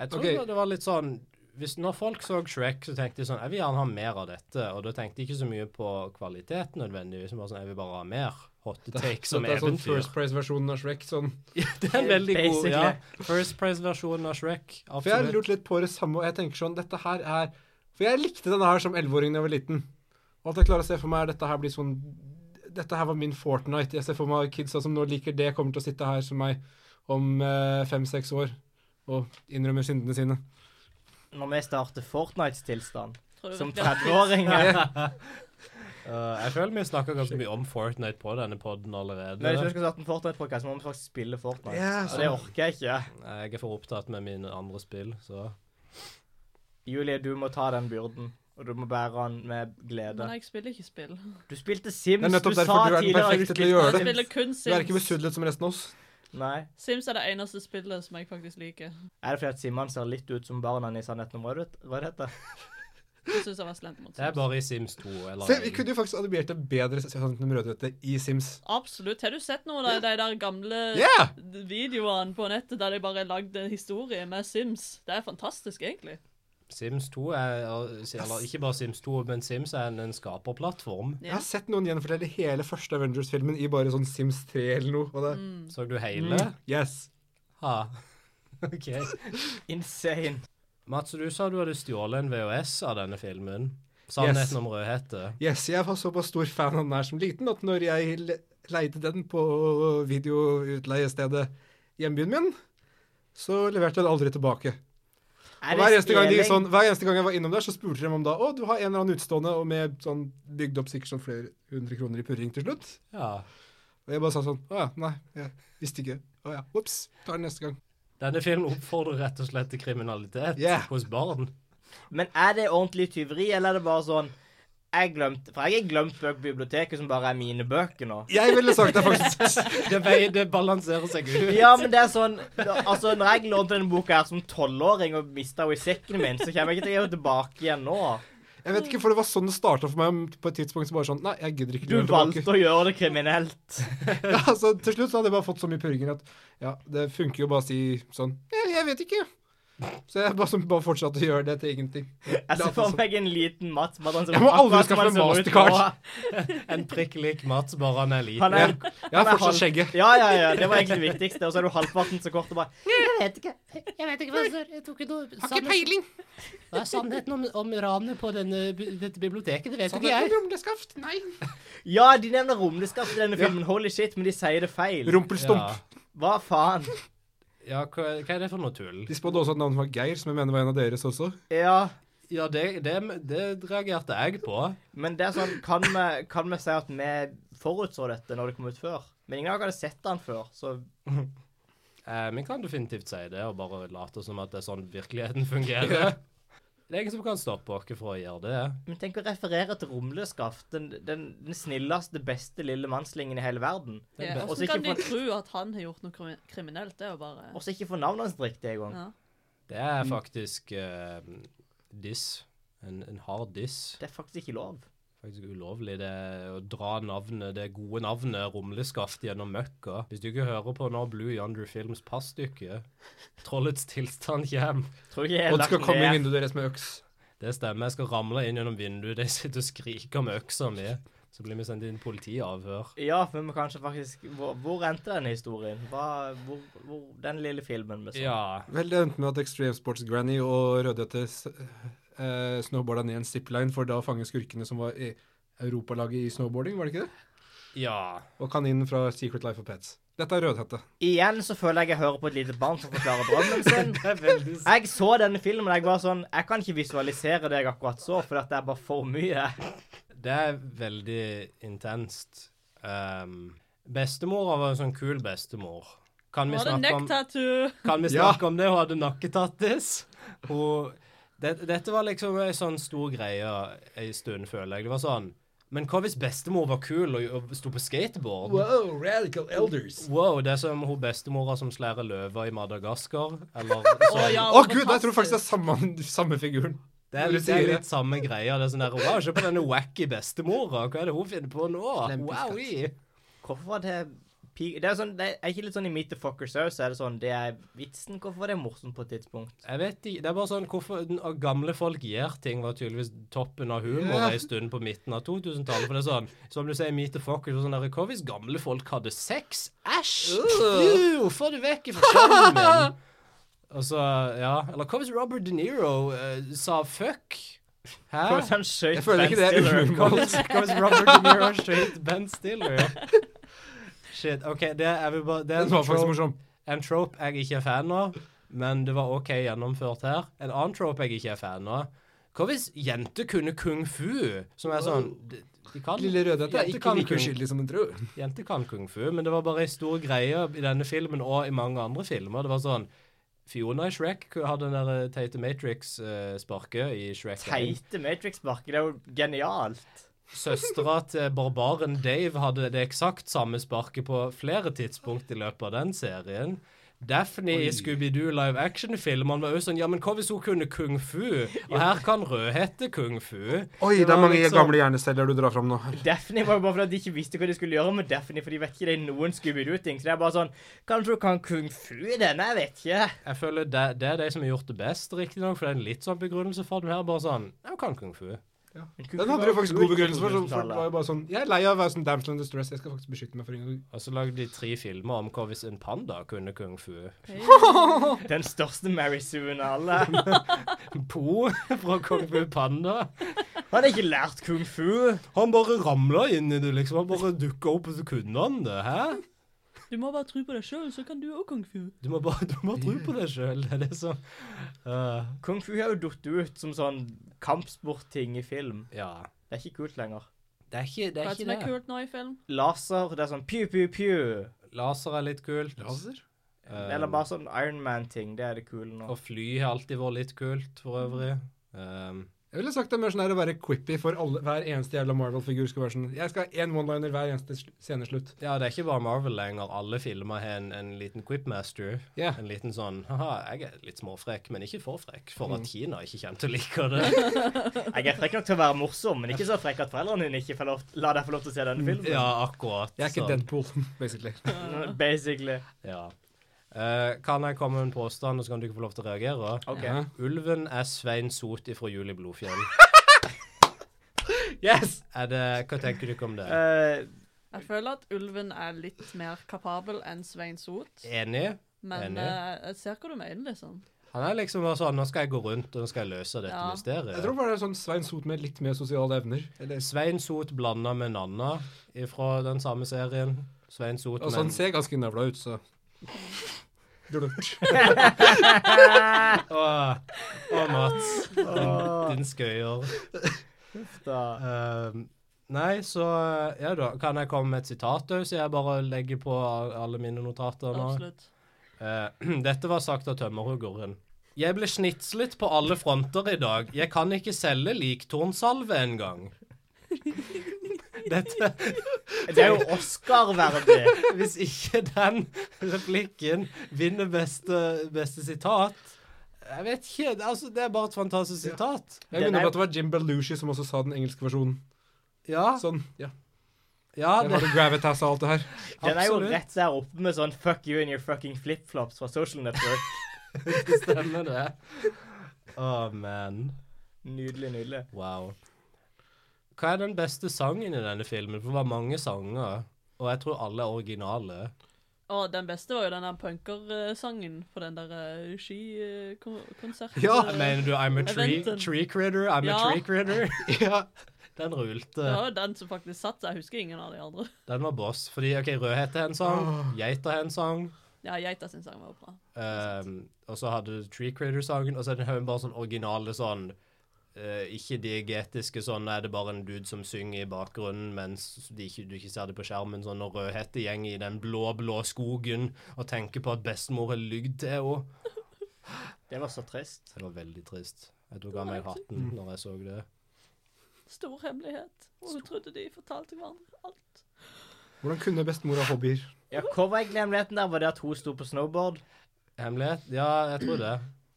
Jeg tror Ok. det var litt sånn hvis, Når folk så Shrek, så tenkte de sånn Jeg vil gjerne ha mer av dette. Og da tenkte de ikke så mye på kvalitet nødvendigvis. Men bare sånn, jeg vil bare ha mer hot take som Dette er sånn eventyr. First Price-versjonen av Shrek. sånn. Ja, det er en veldig god ja. Basically. First Price-versjonen av Shrek. For jeg har Absolutt. lurt litt på det samme, og jeg tenker sånn Dette her er For jeg likte denne her som 11-åring da jeg var liten. Og alt jeg klarer å se for meg, er dette her blir sånn Dette her var min Fortnite. Jeg ser for meg kidsa som nå liker det, kommer til å sitte her som meg om eh, fem-seks år og innrømmer syndene sine. Når vi starter Fortnites tilstand Tror du som virkelig at- 30-åringer Uh, jeg føler vi snakker ganske mye om Fortnite på denne podden allerede. Men hvis vi skal starte sånn en Fortnite-podcast, så må vi faktisk spille Fortnite. Ja, sånn. Og det orker jeg ikke. Jeg er for opptatt med mine andre spill, så Julie, du må ta den byrden. Og du må bære den med Men glede. jeg spiller ikke spill. Du spilte Sims, Det er nettopp du sa derfor du er den tidligere at perfekte til å spilte gjøre Jeg det. Sims. spiller kun Du er ikke Sims. besudlet som resten av oss. Nei. Sims er det eneste spillet som jeg faktisk liker. Er det fordi at Simon ser litt ut som barna i Sannheten om Rødhette? Det synes jeg var slemt mot Det er Sims. bare i Sims 2. Eller Se, vi kunne jo faktisk animert det bedre sånn som Rødhette i Sims. Absolutt. Har du sett noen av de der gamle Yeah! videoene på nettet der de bare lagde en historie med Sims? Det er fantastisk, egentlig. Sims 2 er Eller ikke bare Sims 2, men Sims er en, en skaperplattform. Jeg Ja. har sett noen gjenfortelle hele første Avengers-filmen i bare sånn Sims 3 eller noe. Og det, Så du hele? Yes. Ha. OK. Insane. Mats, du sa du hadde stjålet en VHS av denne filmen. Sannheten Yes. om rødhette. Yes, jeg var såpass stor fan av den her som liten at når jeg le- leide den på videoutleiestedet i hjembyen min, så leverte jeg den aldri tilbake. Er Og det hver eneste, gang de, stjeling? sånn, hver eneste gang jeg var innom der, så spurte de om da Å, du har en eller annen utstående, og med sånn bygd opp sikkert sånn flere hundre kroner i purring til slutt. Ja. Og jeg bare sa sånn Å ja, nei, jeg visste ikke. Å ja, ops. Tar den neste gang. Denne filmen oppfordrer rett og slett til kriminalitet Yeah. hos barn. Men er det ordentlig tyveri, eller er det bare sånn jeg glemte, For jeg har glemt bøker på biblioteket som bare er mine bøker nå. Jeg ville sagt det, faktisk. Det, vei- det balanserer seg ut. Ja, men det er sånn Altså, når jeg lånte denne boka her som tolvåring og mista henne i sekken min, så kommer jeg ikke til å gjøre tilbake igjen nå. Jeg vet ikke, for det var sånn det starta for meg på et tidspunkt. Så bare sånn Nei, jeg gidder ikke Du levere tilbake. valgte å gjøre det kriminelt. Ja, altså, til slutt så hadde jeg bare fått så mye purringer at ja, det funker jo bare å si sånn Jeg, jeg vet ikke. Så jeg bare, som- bare fortsatte å gjøre det til ingenting. Jeg ser for meg en liten Mats bare sånn, Jeg må aldri akkurat som skaffe han meg ser ut Mastercard. nå. En prikk lik Mats, bare han er Han liten. er, Jeg har han er fortsatt halv- skjegget. Ja, ja, ja. Det var egentlig det viktigste. Og så er du halvparten så kort og bare Jeg vet ikke. Jeg vet ikke hva det står. Jeg tok ikke noe Har ikke peiling. Hva er sannheten om, om ranet på denne, bi- dette biblioteket? Det vet Sånn er det rumleskaft. Nei. Ja, de nevner romleskatt i denne filmen. Holy shit, men de sier det feil. Rumpelstump. Ja. Hva faen? Ja, hva, hva er det for noe tull? De spådde også at navnet var Geir, som jeg mener var en av deres også. Ja. Ja, det, det, det reagerte jeg på. Men det er sånn, kan vi, kan vi si at vi forutså dette når det kom ut før? Men ingen av dere hadde sett den før, så Eh, men kan definitivt si det, og bare late som at det er sånn virkeligheten fungerer. Det er ingen som kan stoppe oss fra å gjøre det. Men tenk å referere til Rumleskaft, den, den, den snilleste, beste lille mannslingen i hele verden. Ja. Og Hvordan så ikke kan de få- tro at han har gjort noe krimi- kriminelt? Det er jo bare Og så ikke få navnet hans riktig engang. ja. Det er faktisk eh, diss. En, en hard diss. Det er faktisk ikke lov. Faktisk ulovlig det er å dra navnet, det gode navnet Rumleskaft gjennom møkka. Hvis du ikke hører på nå Blue Yonder Films passstykke, Trollets tilstand kjem. Tror ikke jeg har Og det skal lagt komme i ned. vinduet deres med øks. Det stemmer, jeg skal ramle inn gjennom vinduet, de sitter og skriker med øksa mi. Så blir vi sendt inn politiavhør. Ja, for vi må kanskje faktisk Hvor, hvor endte denne historien? Hva, hvor, hvor, den lille filmen med sånn. Ja. Vel, det endte med at Extreme Sports Granny og Rødhette s- eh, snowboarda ned en zipline for da å fange skurkene som var i europalaget i snowboarding, var det ikke det? Ja. Og kaninen fra Secret Life of Pets. Dette er Rødhette. Igjen så føler jeg jeg hører på et lite barn som forklarer drømmen sin. Det er veldig Jeg så denne filmen, og jeg var sånn Jeg kan ikke visualisere det jeg akkurat så, for dette er bare for mye. Det er veldig intenst. Um, bestemora var en sånn kul bestemor. Kan vi Var det snakke om, neck-tattoo? kan vi Ja. snakke om det? Hun hadde nakketattis. Hun, det, dette var liksom en sånn stor greie en stund, føler jeg. Det var sånn Men hva hvis bestemor var kul og, og sto på skateboard? Wow, radical elders. Wow, det er som hun bestemora som slærer løver i Madagaskar. Eller Å sånn. ja, Å gud, jeg tror faktisk det er samme, samme figuren. det, er, Når du litt- det er sier det. litt samme greia. Det er sånn der, wow, Se på denne wacky bestemora. Hva er det hun finner på nå? Wowie! Hvorfor var det pi... Det er sånn, det er ikke litt sånn i Meet the Fuckers òg, så er det sånn Det er vitsen. Hvorfor var det morsomt på et tidspunkt? Jeg vet ikke. Det er bare sånn hvorfor den- av gamle folk gjør ting, var tydeligvis toppen av humor Ja. en stund på midten av 2000-tallet. For det er sånn, som du sier, meet the fuckers og sånn der Hva hvis gamle folk hadde sex? Æsj! Uh. Få det vekk fra skjermen! min. Og så, ja Eller hva hvis Robert De Niro eh, sa fuck? Hæ? Hvorfor han skjøt Jeg føler Ben ikke det er Stiller? unormalt. Hva hvis Robert De Niro skjøt Ben Stiller? Shit. OK, det er, vi bare, det er Den en, var faktisk trope, morsom. en trope jeg ikke er fan av, men det var OK gjennomført her. En annen trope jeg ikke er fan av. Hva hvis jenter kunne kung fu? Som er sånn De, de kan, Lille Rødhette er jenter ikke kan like kung- uskyldig som hun tror. Jenter kan kung fu, men det var bare en stor greie i denne filmen og i mange andre filmer. Det var sånn Fiona i Shrek hadde den der eh, teite Matrix-sparket i Shrek. en. Teite Matrix-sparket. Det er jo genialt. Søstera til barbaren Dave hadde det eksakt samme sparket på flere tidspunkt i løpet av den serien. Daphne i Scooby-Doo live action-filmene var jo sånn Ja, men hva hvis hun kunne kung fu? Og her kan Rødhette kung fu. Oi, Det det er var mange liksom- gamle hjerneceller du drar fram nå. Daphne var jo bare fordi de ikke visste hva de skulle gjøre med Daphne, for de vet ikke det er noen Scooby-Doo-ting. Så det er bare sånn Kanskje hun kan kung fu i denne? Jeg vet ikke. sånn, Jeg føler det, det er de som har gjort det best, riktignok, for det er en litt sånn begrunnelse for den her. Bare sånn Ja, hun kan kung fu. Men kung fu var Den hadde jo du faktisk kult god på begrunnelse for. så Folk 2000-tallet. var jo bare sånn Jeg er lei av å være sånn damsel in distress, jeg skal faktisk beskytte meg for ingen Og så lagde de tre filmer om hva hvis en panda kunne kung fu. Den største Mary Suen av alle. Po fra Kung Fu Panda. Han hadde ikke lært kung fu. Han bare ramla inn i det, liksom. Han bare dukka opp, og så kunne han det. Hæ? Du må bare tro på deg sjøl, så kan du òg kung fu. Du må bare, du må tro på deg sjøl. Det er det som Eh, Kung fu har jo datt ut som sånn kampsportting i film. Ja. Det er ikke kult lenger. Det er ikke det. Hva Er er det som er ikke det. kult nå i film? Laser, det er sånn pew, pew, pew. Laser er litt kult. Eh, Eller bare sånn Iron Man-ting. Det er det kule nå. Og fly har alltid vært litt kult, for øvrig. Um, Jeg ville sagt det er mer sånn her å være quippy for alle, hver eneste jævla Marvel-figur skal være sånn Jeg skal ha én one-liner hver eneste sl- sceneslutt. ja, det er ikke bare Marvel lenger. Alle filmer har en, en liten quipmaster. Ja. En liten sånn Haha, jeg er litt småfrekk, men ikke for frekk, Mm. for at Kina ikke kommer til å like det. Jeg er frekk nok til å være morsom, men ikke så frekk at foreldrene dine ikke får lov, la deg få lov til å se denne filmen. Ja, akkurat. Jeg er sånn. ikke Deadpool, basically. Basically. Ja. Eh, kan jeg komme med en påstand, og så kan du ikke få lov til å reagere? OK. Ja. Ulven er Svein Sot ifra Juli Blodfjell. Yes! Er det, hva tenker du ikke om det? Eh, Jeg føler at ulven er litt mer kapabel enn Svein Sot, Eh. Enig? men enig. eh, jeg ser hva du mener, liksom. Han er liksom bare sånn Nå skal jeg gå rundt og nå skal jeg løse dette Ja. mysteriet. Jeg tror bare det er sånn Svein Sot med litt mer sosiale evner. Eller, Svein Sot blanda med Nanna fra den samme serien. Svein Sot og men- sånn ser ganske navla ut, så Dulurt. Åh, åh, Mats. Din, din skøyer. da. Ehm, nei, så Ja da. Kan jeg komme med et sitat òg, så jeg bare legger på alle mine notater nå? Absolutt. Eh, dette var sagt av tømmerhuggeren. Jeg ble snitslet på alle fronter i dag. Jeg kan ikke selge liktornsalve engang. Dette Det er jo Oscar-verdig. Hvis ikke den replikken vinner beste, beste sitat Jeg vet ikke. Altså, det er bare et fantastisk sitat. Jeg Den minner er- om at det var Jim Belushi som også sa den engelske versjonen. Ah. Ja. Sånn. Ja. ja Jeg det, hadde gravitas og alt det her. Den er jo Absolutt. rett der oppe med sånn fuck you and your fucking flipflops fra Social Network. det stemmer, det. Å, man. Nydelig, nydelig. Wow. Hva er den beste sangen i denne filmen? For det var mange sanger, og jeg tror alle er originale. Og den beste var jo den der punkersangen på den der eh, skikonserten. Ja, mener du I'm a tree, Eventen. tree critter? I'm Ja. a tree critter? ja. Den rulte. Det var jo den som faktisk satt seg. Jeg husker ingen av de andre. Den var boss. Fordi OK, Rødhette har en sang, Geita har en sang, Ja, Geita sin sang var jo bra. ehm, og så hadde du Tree Critter-sangen, og så er det en bare sånn originale sånn eh, ikke diegetiske sånn er det bare en dude som synger i bakgrunnen mens de ikke, du ikke ser det på skjermen. Sånn når Rødhette gjenger i den blå, blå skogen og tenker på at bestemor har lygd til henne. Det var så trist. Det var veldig trist. Jeg tok av meg hatten når jeg så det. stor hemmelighet. Og hun trodde de fortalte hverandre alt. Hvordan kunne bestemor ha hobbyer? Ja, Hva var egentlig hemmeligheten der? Var det at hun sto på snowboard? Hemmelighet? Ja, jeg tror det.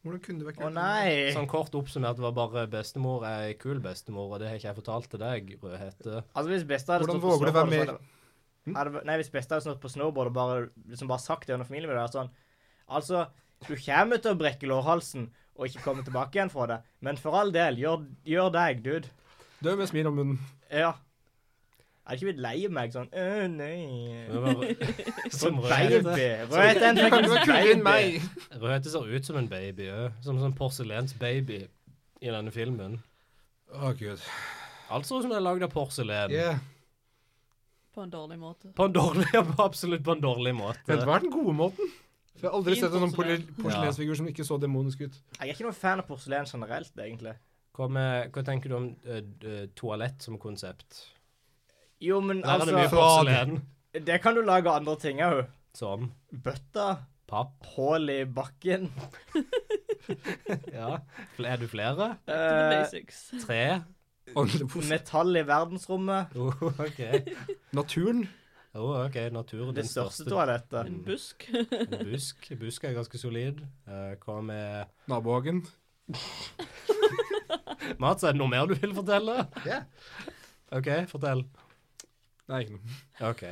Hvordan kunne du vekk Å nei! Sånn kort oppsummert var bare bestemor er ei kul bestemor, og det har ikke jeg fortalt til deg, Rødhette. Altså Hvis besta hadde Hvordan stått på våger du Hm? være snowboard med- så hadde- hadde, Nei, hvis besta hadde stått på snowboard og bare, liksom bare sagt det under familiemiddag sånn, Altså, du kommer til å brekke lårhalsen og ikke komme tilbake igjen fra det, men for all del, gjør, gjør deg, dude. Dø med smil om munnen. Ja. Jeg hadde ikke blitt lei meg sånn Øh, nei. Det var- Som Rødhette. Baby. Sånn. Rødt en Du kan ikke være kulere enn baby. meg! Rødhette ser ut som en baby òg. Som sånn porselensbaby i denne filmen. Å, gud. Alt ser ut som det er lagd av porselen. Yeah. På en dårlig måte. På en dårlig, absolutt på en dårlig måte. Men hva er den gode måten? For jeg har aldri Fin sett en sånn porselen. porse- porselensfigur som ikke så demonisk ut. Jeg er ikke noen fan av porselen generelt, egentlig. Hva, med, hva tenker du om eh, d- toalett som konsept? Jo, men Der er det mye altså porselen. Det kan du lage andre ting òg. Som Bøtta, papp. hull i bakken Ja. Fl- Er du flere? Back to the eh, basics. Tre? Metall i verdensrommet. Jo, OK. Naturen. Jo, Oh, ok, Naturen Det din største største toalettet. En busk. En Busk. Busk er ganske solid. Eh, hva med Nabohagen. Mats, er det noe mer du vil fortelle? Ja. OK, fortell. Nei, ikke noe. OK.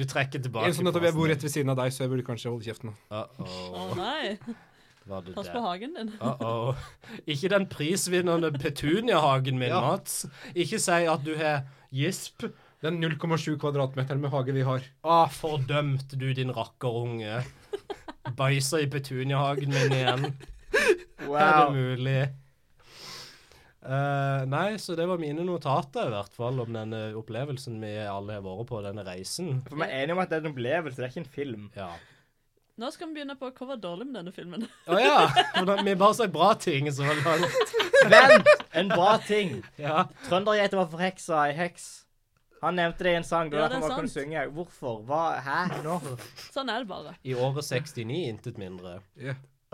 Du trekker tilbake. En som nettopp jeg sånn bor rett ved siden av deg, så jeg burde kanskje holde kjeften. Å Uh-oh. nei. Var det Pass på det? hagen din. Uh-oh. Ikke den prisvinnende petuniahagen min, Ja. Mats. Ikke si at du har gisp. Den 0,7 kvadratmeteren med hage vi har. Å, fordømt du, din rakkerunge. Bæsja i petuniahagen min igjen. Er det Wow. mulig? Eh, nei, så det var mine notater, i hvert fall, om denne opplevelsen vi alle har vært på, denne reisen. For vi er enige om at det er en opplevelse, det er ikke en film. Ja. Nå skal vi begynne på hva var dårlig med denne filmen. Å ja! hvordan- Vi bare sier bra ting. Så var det bare- Vent! En bra ting. ja. Trøndergeita var forheksa ei heks. Han nevnte det i en sang. Det Ja, var det er derfor man kunne sant. synge. Hvorfor? Hva? Hæ? Når? Sånn er det bare. I året 69, intet mindre.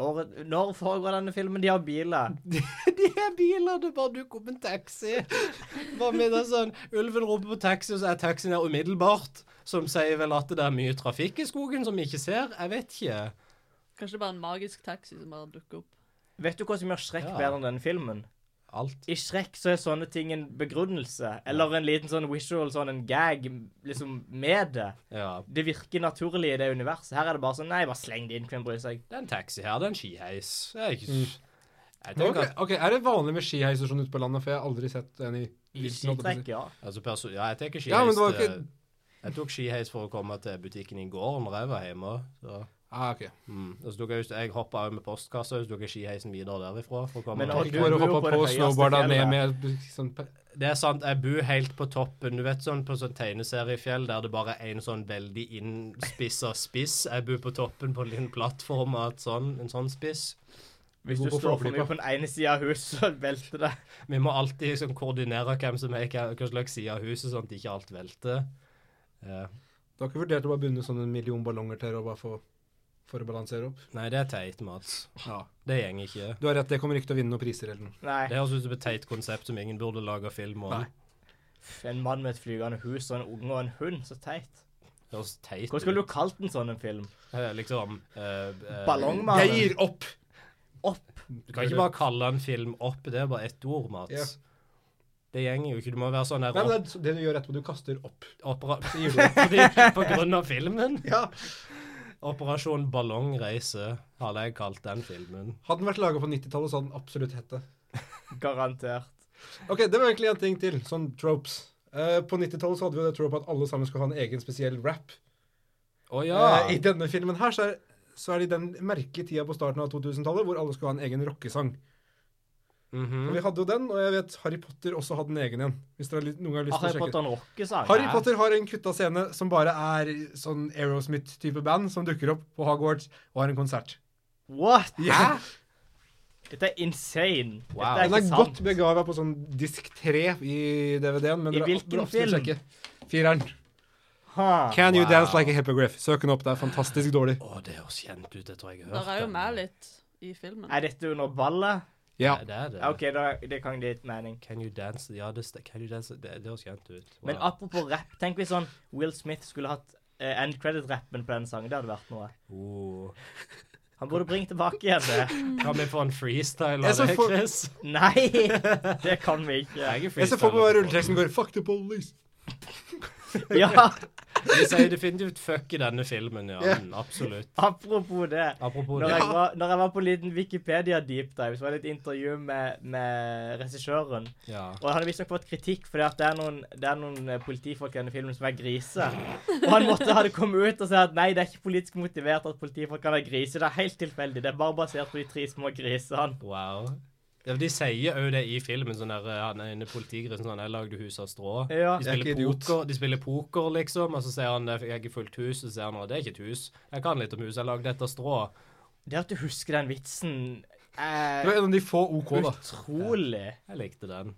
Året- Når foregår denne filmen? De har biler. De her bilene bare dukker opp en taxi. Bare med det sånn, Ulven roper på taxi, og så er taxien her umiddelbart. Som sier vel at det er mye trafikk i skogen som vi ikke ser. Jeg vet ikke. Kanskje det er bare en magisk taxi som bare dukker opp. Vet du hva som gjør Shrek Ja. bedre enn denne filmen? Alt. I Shrek så er sånne ting en begrunnelse. Eller en liten sånn visual, sånn en gag, liksom med det. Ja. Det virker naturlig i det universet. Her er det bare sånn Nei, bare sleng det inn, hvem bryr seg? Det er en taxi her, det er en skiheis. Det er ikke Jeg Mm. Ok, tenker at, ok, Er det vanlig med skiheiser sånn ute på landet? For jeg har aldri sett en i I vilten, holdt jeg på å skitrekk, si. ja. altså, perso ja, jeg tenker skiheis Ja, men det var til- ikke- Jeg tok skiheis for å komme til butikken i går når jeg var hjemme. Så. Ah, ok. Mm. Og så tok jeg, just- jeg hoppa med postkassa, og så tok jeg skiheisen videre derifra. For å komme Men meg har opp. Ikke bare bor jo hoppa på på det høyeste snowboarda ned fjellet. med sånn pe- Det er sant, jeg bor helt på toppen. Du vet sånn på sånn tegneseriefjell der det bare er en sånn veldig innspissa spiss. Jeg bor på toppen på en liten plattform av et sånn, en sånn spiss. Hvis du Hvor- hvorfor står for flipper? mye på den ene sida av huset, så velter det. Vi må alltid liksom koordinere hvem som er i hva hva slags side av huset, sånn at ikke alt velter. Eh, Du har ikke vurdert å bare bunne sånn en million ballonger til og bare få for å balansere opp? nei, det er teit, Mats. Ja. Det gjenger ikke. Du har rett, det kommer ikke til å vinne noen priser eller noe. Nei. Det høres ut som et teit konsept som ingen burde lage film om. Nei. En mann med et flygende hus og en unge og en hund. Så teit. Det høres teit Hvordan skulle ut. du kalt en sånn en film? Eh, Liksom eh, eh, Ballongmannen? Jeg gir opp! Opp. Du kan ikke bare kalle en film opp. Det er bare ett ord, Mats. Ja. Det gjenger jo ikke. Du må være sånn der Nei, men det, er det du gjør etterpå, du kaster opp. opera... Det gir du opp. Fordi, på grunn av filmen. Ja. Operasjon Ballongreise hadde jeg kalt den filmen. Hadde den vært laga på 90-tallet, så hadde den absolutt hett det. Garantert. Ok, det var egentlig en ting til, sånn tropes. Eh, på 90-tallet så hadde vi jo det trope at alle sammen skulle ha en egen spesiell rap. Å Eh, I denne filmen her så er, så er det i den merkelige tida på starten av 2000-tallet hvor alle skulle ha en egen rockesang. Og Mhm. Vi hadde jo den, og jeg vet Harry Potter også hadde en egen en. Hvis dere har lyst- noen gang har lyst Ah, Harry til å sjekke Potter en rockesang? Harry Hæ? Potter har en kutta scene som bare er sånn Aerosmith-type band som dukker opp på Hogwarts og har en konsert. What? Ja. Dette er insane. Wow. Dette er Den ikke er sant. godt begava på sånn disk 3 i DVD-en. men I dere- hvilken dere absolutt film? sjekke. Fireren. Ha. Can you Wow. dance like a hippogriff? Søk den opp, det er fantastisk dårlig. Å, det høres kjent ut. Jeg tror jeg har hørt Der er den. jo med litt i filmen. Er dette under ballet? Ja. Det, det er det. Ja, OK, da, det kan gi litt mening. Can you dance? Ja, det, st- can you dance? det, det høres kjent ut. Wow. Men apropos rapp, tenk hvis sånn Will Smith skulle hatt eh, end credit-rappen på den sangen. Det hadde vært noe. Oh. Han burde bringe tilbake igjen det. Kan vi få en freestyle Jeg av så det, for- Chris? Nei! Det kan vi ikke. Jeg er Jeg ser for meg freestyler. rulleteksten går Fuck the police. Ja, Vi sier definitivt fuck i denne filmen, ja. Ja. Mm, Absolutt. apropos det. Apropos Når det. jeg, var, når jeg var på en liten Wikipedia-deep dive, så var det et intervju med, med regissøren. Ja. Og han hadde visstnok fått kritikk fordi at det er noen, det er noen eh, politifolk i denne filmen som er griser. Og han måtte ha det kommet ut og si at nei, det er ikke politisk motivert at politifolk kan være griser. Det er helt tilfeldig. Det er bare basert på de tre små grisene. Wow. Ja, de sier jo det i filmen. sånn der, Han er inne i politigrisen sånn 'Jeg lagde hus av strå'. De Ja. Jeg er spiller, ikke idiot. poker, de spiller poker, liksom. Og så sier han 'Jeg er ikke fullt hus'. Og så sier han 'Å, det er ikke et hus'. 'Jeg kan litt om hus. Jeg lagde dette av strå'. Det at du husker den vitsen Det var er en av de få OK, da. utrolig. Jeg likte den.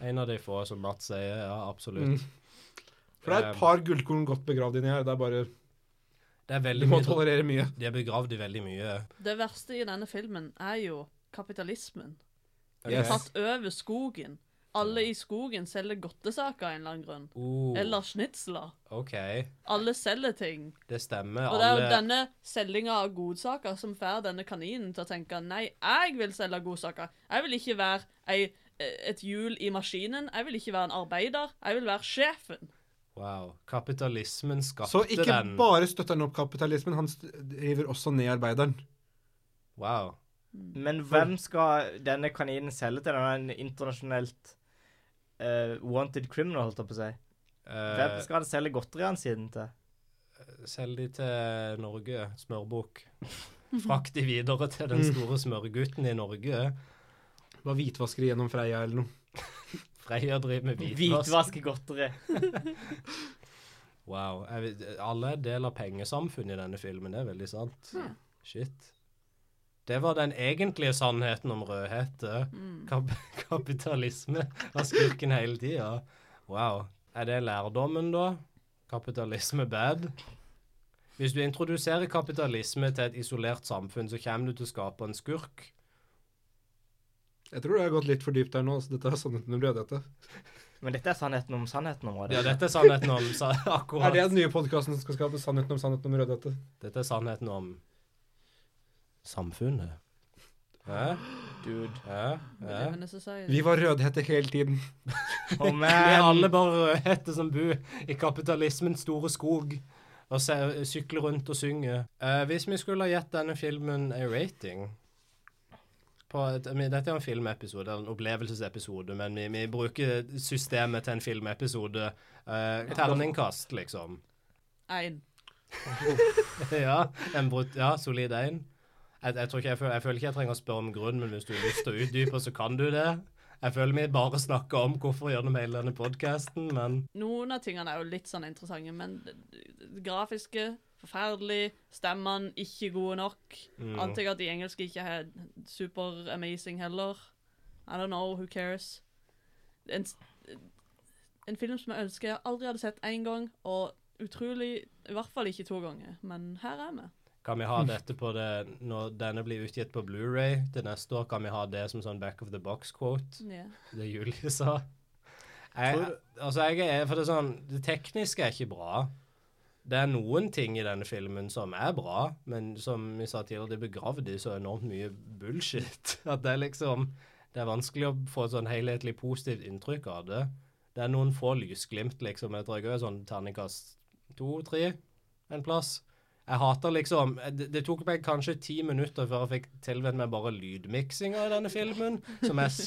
En av de få som Matt sier. Ja, absolutt. Mm. For det er et par gullkorn godt begravd inni her. Det er bare Det er Du veldig må mye tolerere mye. De er begravd i veldig mye. Det verste i denne filmen er jo kapitalismen. Yes. Tatt over skogen. Alle i skogen selger godtesaker av en eller annen grunn. Oh, Eller snitsler. OK. Alle selger ting. Det stemmer. Og det er jo Alle denne selginga av godsaker som får denne kaninen til å tenke nei, jeg vil selge godsaker. Jeg vil ikke være ei, eh, et hjul i maskinen. Jeg vil ikke være en arbeider. Jeg vil være sjefen. Wow. Kapitalismen skapte Så ikke den. bare støtter han opp kapitalismen, han st- driver også ned arbeideren. Wow. Men hvem skal denne kaninen selge til? Den er en internasjonalt eh, wanted criminal, holdt jeg på å si. Hvem Eh, skal han selge godteriene sine til? Selg de til Norge, smørbukk. Frakt de videre til Mm. den store smørgutten i Norge. Det var hvitvaskeri gjennom Freia eller noe. Freia driver med hvitvask. Hvitvaske godteri. Wow. Jeg, vet- alle er del av pengesamfunnet i denne filmen, det er veldig sant. Shit. Det var den egentlige sannheten om rødhette. Kap kapitalisme var skurken hele tida. Wow. Er det lærdommen, da? Kapitalisme bad? Hvis du introduserer kapitalisme til et isolert samfunn, så kommer du til å skape en skurk. Jeg tror det har gått litt for dypt der nå. så Dette er sannheten om rødhette. Men dette er sannheten om sannheten om Ja, det. dette er sannheten om sa Er akkurat. det den nye podkasten som skal skape sannheten om sannheten om rødhette? Dette er sannheten om samfunnet. Hæ? Dude. Hæ? Hæ? Levende society. Vi var rødhette hele tiden. Oh, Vi er alle man. bare rødhette som bor i kapitalismens store skog og se- sykler rundt og synger. Eh, hvis vi skulle ha gitt denne filmen en rating på et, I mean, Dette er en filmepisode, en opplevelsesepisode, men vi, vi bruker systemet til en filmepisode. Eh, terningkast, liksom. Ein. ja, en brut, ja, solid én. Jeg, jeg, tror ikke, jeg, føler, jeg føler ikke jeg trenger å spørre om grunn, men hvis du har lyst til å utdype, så kan du det. Jeg føler vi bare snakker om hvorfor gjennom hele denne podkasten, men Noen av tingene er jo litt sånn interessante, men det, det grafiske Forferdelig. Stemmene ikke gode nok. Antar jeg at de engelske ikke er super-amazing heller. I don't know, who cares. En, s- en film som jeg ønsker jeg aldri hadde sett én gang, og utrolig I hvert fall ikke to ganger, men her er vi. kan vi ha dette på det Når denne blir utgitt på Blu-ray til neste år, kan vi ha det som sånn back of the box-quote? Ja. det Julie sa. Jeg, altså, jeg er, for det er sånn, det tekniske er ikke bra. Det er noen ting i denne filmen som er bra, men som vi sa tidligere, det er begravd i så enormt mye bullshit. At det er liksom Det er vanskelig å få et sånn helhetlig positivt inntrykk av det. Det er noen få lysglimt, liksom. Jeg tror jeg er sånn terningkast to-tre en plass. Jeg hater liksom det, det tok meg kanskje ti minutter før jeg fikk tilvendt meg bare lydmiksinga i denne filmen, som er Ja.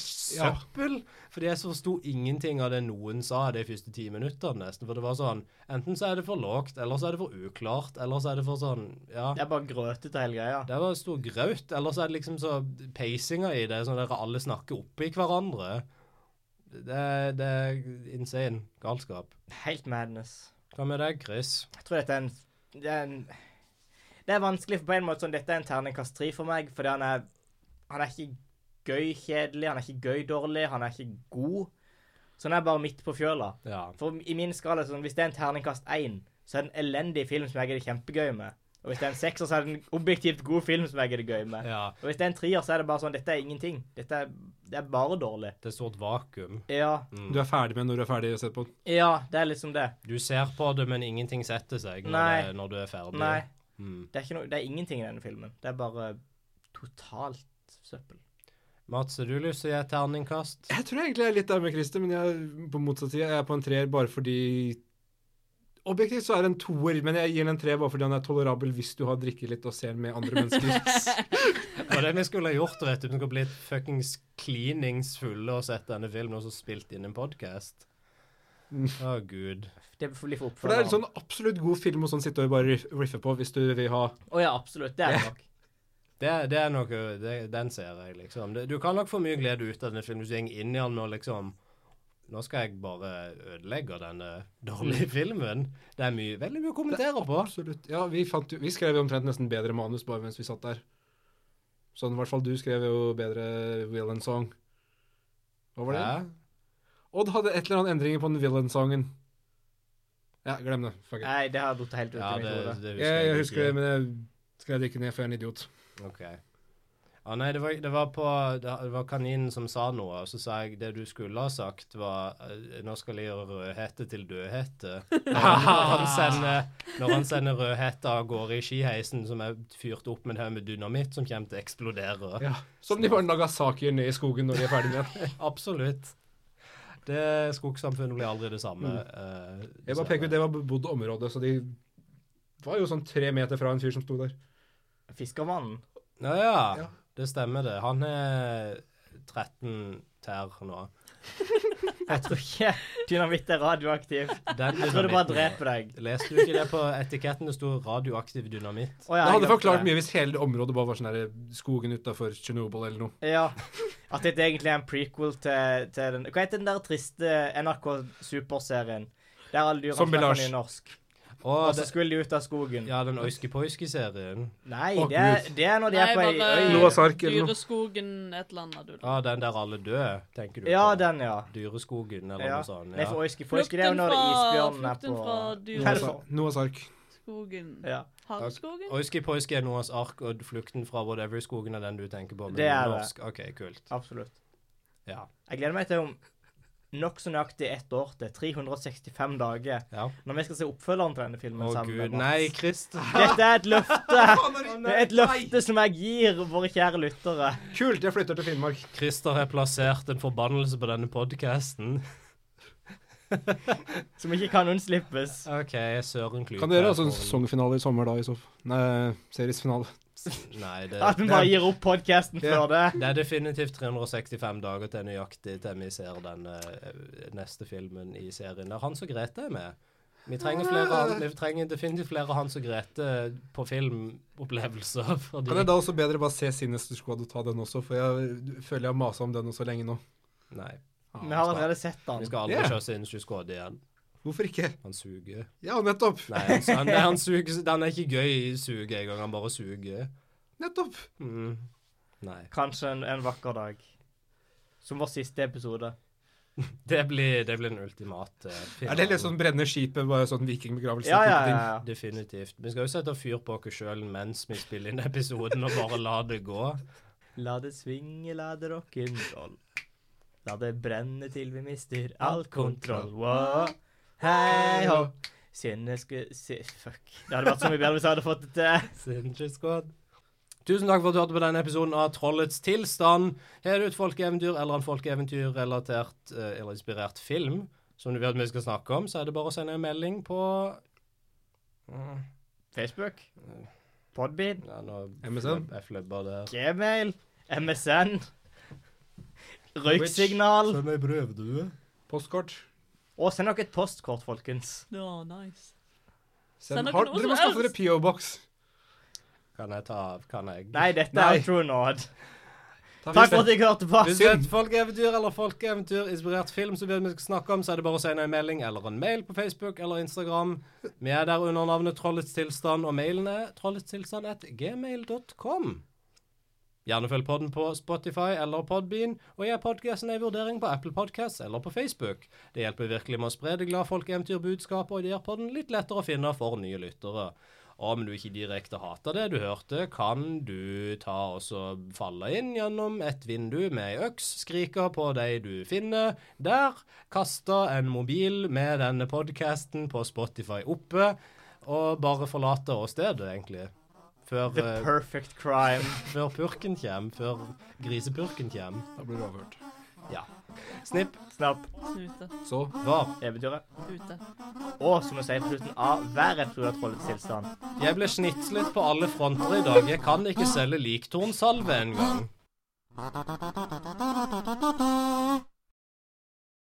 søppel. Fordi jeg forsto ingenting av det noen sa de første ti minuttene, nesten. For det var sånn Enten så er det for lågt, eller så er det for uklart, eller så er det for sånn Ja. Det er bare grøtete hele greia. Det var stor graut. Eller så er det liksom så pacinga i det, sånn der alle snakker oppi hverandre. Det, det er insane galskap. Helt madness. Hva med deg, Chris? Jeg tror dette er en Det er, en, det er vanskelig for på en måte sånn Dette er en terningkast tre for meg, fordi han er Han er ikke gøy kjedelig, han er ikke gøy dårlig, han er ikke god. Så han er bare midt på fjøla. Ja. For i min skala, sånn, hvis det er en terningkast én, så er det en elendig film som jeg er det kjempegøy med. Og hvis det er en sekser, så er det en objektivt god film som jeg er det gøy med. Ja, Og hvis det er en trier, så er det bare sånn Dette er ingenting. Dette er, det er bare dårlig. det er et stort vakuum. Ja. Du er ferdig med når du er ferdig å se på den. ja, det er liksom det. Du ser på det, men ingenting setter seg når, Nei. det- når du er ferdig. Nei. Mm. Det er, ikke noe, det er ingenting i denne filmen. Det er bare totalt søppel. Mats, har du lyst til å gi et terningkast? Jeg tror egentlig jeg er litt der med Christer, men jeg på motsatt side jeg er på en treer bare fordi Objektivt så er det en toer, men jeg gir den en treer bare fordi han er tolerabel hvis du har drikket litt og ser den med andre mennesker. Det var det vi skulle ha gjort, vet du. Vi skulle blitt fuckings kliningsfulle og sett denne filmen og så spilt inn en podkast. Å, gud. Det blir for For det er en oppfølgeren. sånn absolutt god film å sånn sitte og bare riff- riffe på hvis du vil ha Å ja, absolutt. Det er det nok. Det, det er noe det, Den ser jeg, liksom. Det, du kan nok få mye glede ut av denne filmen hvis du går inn i den med å liksom Nå skal jeg bare ødelegge denne dårlige Mm. filmen. Det er mye, veldig mye å kommentere på. Absolutt. Ja, vi, fant jo, vi skrev jo omtrent nesten bedre manus bare mens vi satt der. Sånn, i hvert fall du skrev jo bedre Will and Song. Hva var det? Ja. Odd hadde et eller annet endringer på den Will and Songen. Ja, glem det. Fuck it. Nei, det har datt helt ut Ja, i det, mitt hode. det Jeg, jeg husker husker det, jeg ikke. men jeg skrev det ikke ned, for jeg er en idiot. OK. Ja, nei, det var, det var på Det var kaninen som sa noe, og så sa jeg det du skulle ha sagt, var eh, Nå skal jeg gjøre rødhette til dødhette. Når han, når han sender, når han sender rødhette av gårde i skiheisen som er fyrt opp med en haug med dynamitt som kommer til å eksplodere. Ja. Som de bare lager saker ned i skogen når de er ferdig med den. Absolutt. Det skogsamfunnet blir aldri det samme. eh, Mm. Jeg så- bare peker ut, Det var bebodd område, så de var jo sånn tre meter fra en fyr som sto der. Fiskermannen. Nå ja, Ja. det stemmer det. Han er 13 tær nå. Jeg tror ikke dynamitt er radioaktiv. Jeg Den tror det bare dynamitten- dreper deg. Leste du ikke det på etiketten? Det sto 'radioaktiv dynamitt'. Å ja, jeg Det hadde glemte forklart det. mye hvis hele det området bare var sånn der skogen utafor Tsjernobyl eller noe. Ja. At dette egentlig er en prequel til, til den Hva heter den der triste NRK Superserien? Der alle dyra Zombie Lars. i norsk. Og Og så det, skulle de ut av skogen. ja, den Oiski-Poiski-serien. Nei, Å, det, er- det er når de er på ei øy. Noahs ark eller noe. Dyreskogen et eller annet. du. Ja, den der alle dør, tenker du Ja, på. den, ja. Dyreskogen eller ja. noe sånt. Nei, Ja. for Oiski Foiski, det er jo Flukten når fra, isbjørnen er flukten fra på Noahs Noahs dyreskogen. ark. ark. Noahs ark. Ja. Havskogen? Oiski-Poiski er Noahs ark, og 'Flukten fra Whatever-skogen' er den du tenker på. men Det er det. norsk. OK, kult. Absolutt. Ja. Jeg gleder meg til om nokså nøyaktig ett år til 365 dager, ja. når vi skal se oppfølgeren til denne filmen Å sammen. gud, med Mats. nei, Christer. Dette er et løfte. Det er et løfte som jeg gir våre kjære lyttere. Kult, jeg flytter til Finnmark. Christer har plassert en forbannelse på denne podcasten. Som ikke kan unnslippes. OK, Søren Klype. Kan dere ha sånn sesongfinale i sommer da, i så fall? Nei, seriesfinale. Nei, det, At vi bare gir opp podkasten Ja. før det. det er definitivt 365 dager til nøyaktig til vi ser den eh, neste filmen i serien der Hans og Grete er med. Vi trenger, flere, vi trenger definitivt flere Hans og Grete på filmopplevelser. Kan Fordi, jeg da også bedre bare se Sinister Squad og ta den også, for jeg føler jeg har masa om den så lenge nå. nei, Vi har allerede sett vi den. skal aldri Ja. kjøre Sinnssyk Skåd igjen. Hvorfor ikke? Han suger. Ja, nettopp. Nei, han, han, han suger. Den er ikke gøy suge engang, han bare suger. Nettopp. Mm. Nei. Kanskje en, en vakker dag. Som vår siste episode. Det blir, det blir eh, den ultimate Er det litt sånn brenne skipet, bare sånn vikingbegravelse? Ja, ja, type ja. ting? ja. Definitivt. Vi skal jo sette fyr på oss sjøl mens vi spiller inn episoden, og bare la det gå. La det svinge, la det rock'n'roll. La det brenne til vi mister all kontroll. Wow. Hei hå. Sinneske si, Fuck. Det hadde vært så mye bedre hvis jeg hadde fått det til. Sinnssykt squad. Tusen takk for at du hørte på denne episoden av Trollets tilstand. Har du et folkeeventyr eller en folkeeventyrrelatert eh, eller inspirert film som du vil at vi skal snakke om, så er det bare å sende en melding på Facebook? Podbean? ja, nå MSN? fløb- Jeg fløbber der. Gmail? MSN? Røyksignal? Send ei brøvdue. Postkort. Og send dere et postkort, folkens. Ja, nice. Send Send dere har, noe dere må som skaffe dere helst. PO-boks. Kan jeg ta av? Kan jeg? Nei, dette Nei. er True Nord. Ta- Takk for at dere hørte på. Hvis det er et folkeeventyr eller folkeeventyrinspirert film som vi vil vi skal snakke om, så er det bare å sende en melding eller en mail på Facebook eller Instagram. Vi er der under navnet Trollets tilstand, og mailen er trolletstilstand.gmail.com. Gjerne følg podden på Spotify eller Podbean, og gi podkasten en vurdering på Apple Podcasts eller på Facebook. Det hjelper virkelig med å spre det glade folkeeventyrbudskapet, og det gjør podden litt lettere å finne for nye lyttere. om du ikke direkte hater det du hørte, kan du ta og så falle inn gjennom et vindu med ei øks, skrike på de du finner der, kaste en mobil med denne podkasten på Spotify oppe, og bare forlate oss stedet, egentlig. Før, The eh, perfect crime. før purken kommer, før grisepurken kommer. Da blir du avhørt. Ja. Snipp Snapp. Ute. Så var Eventyret. Ute. Og som vi sier på slutten av hver episode av Trollets tilstand Jeg ble snitslet på alle fronter i dag. Jeg kan ikke selge liktornsalve engang.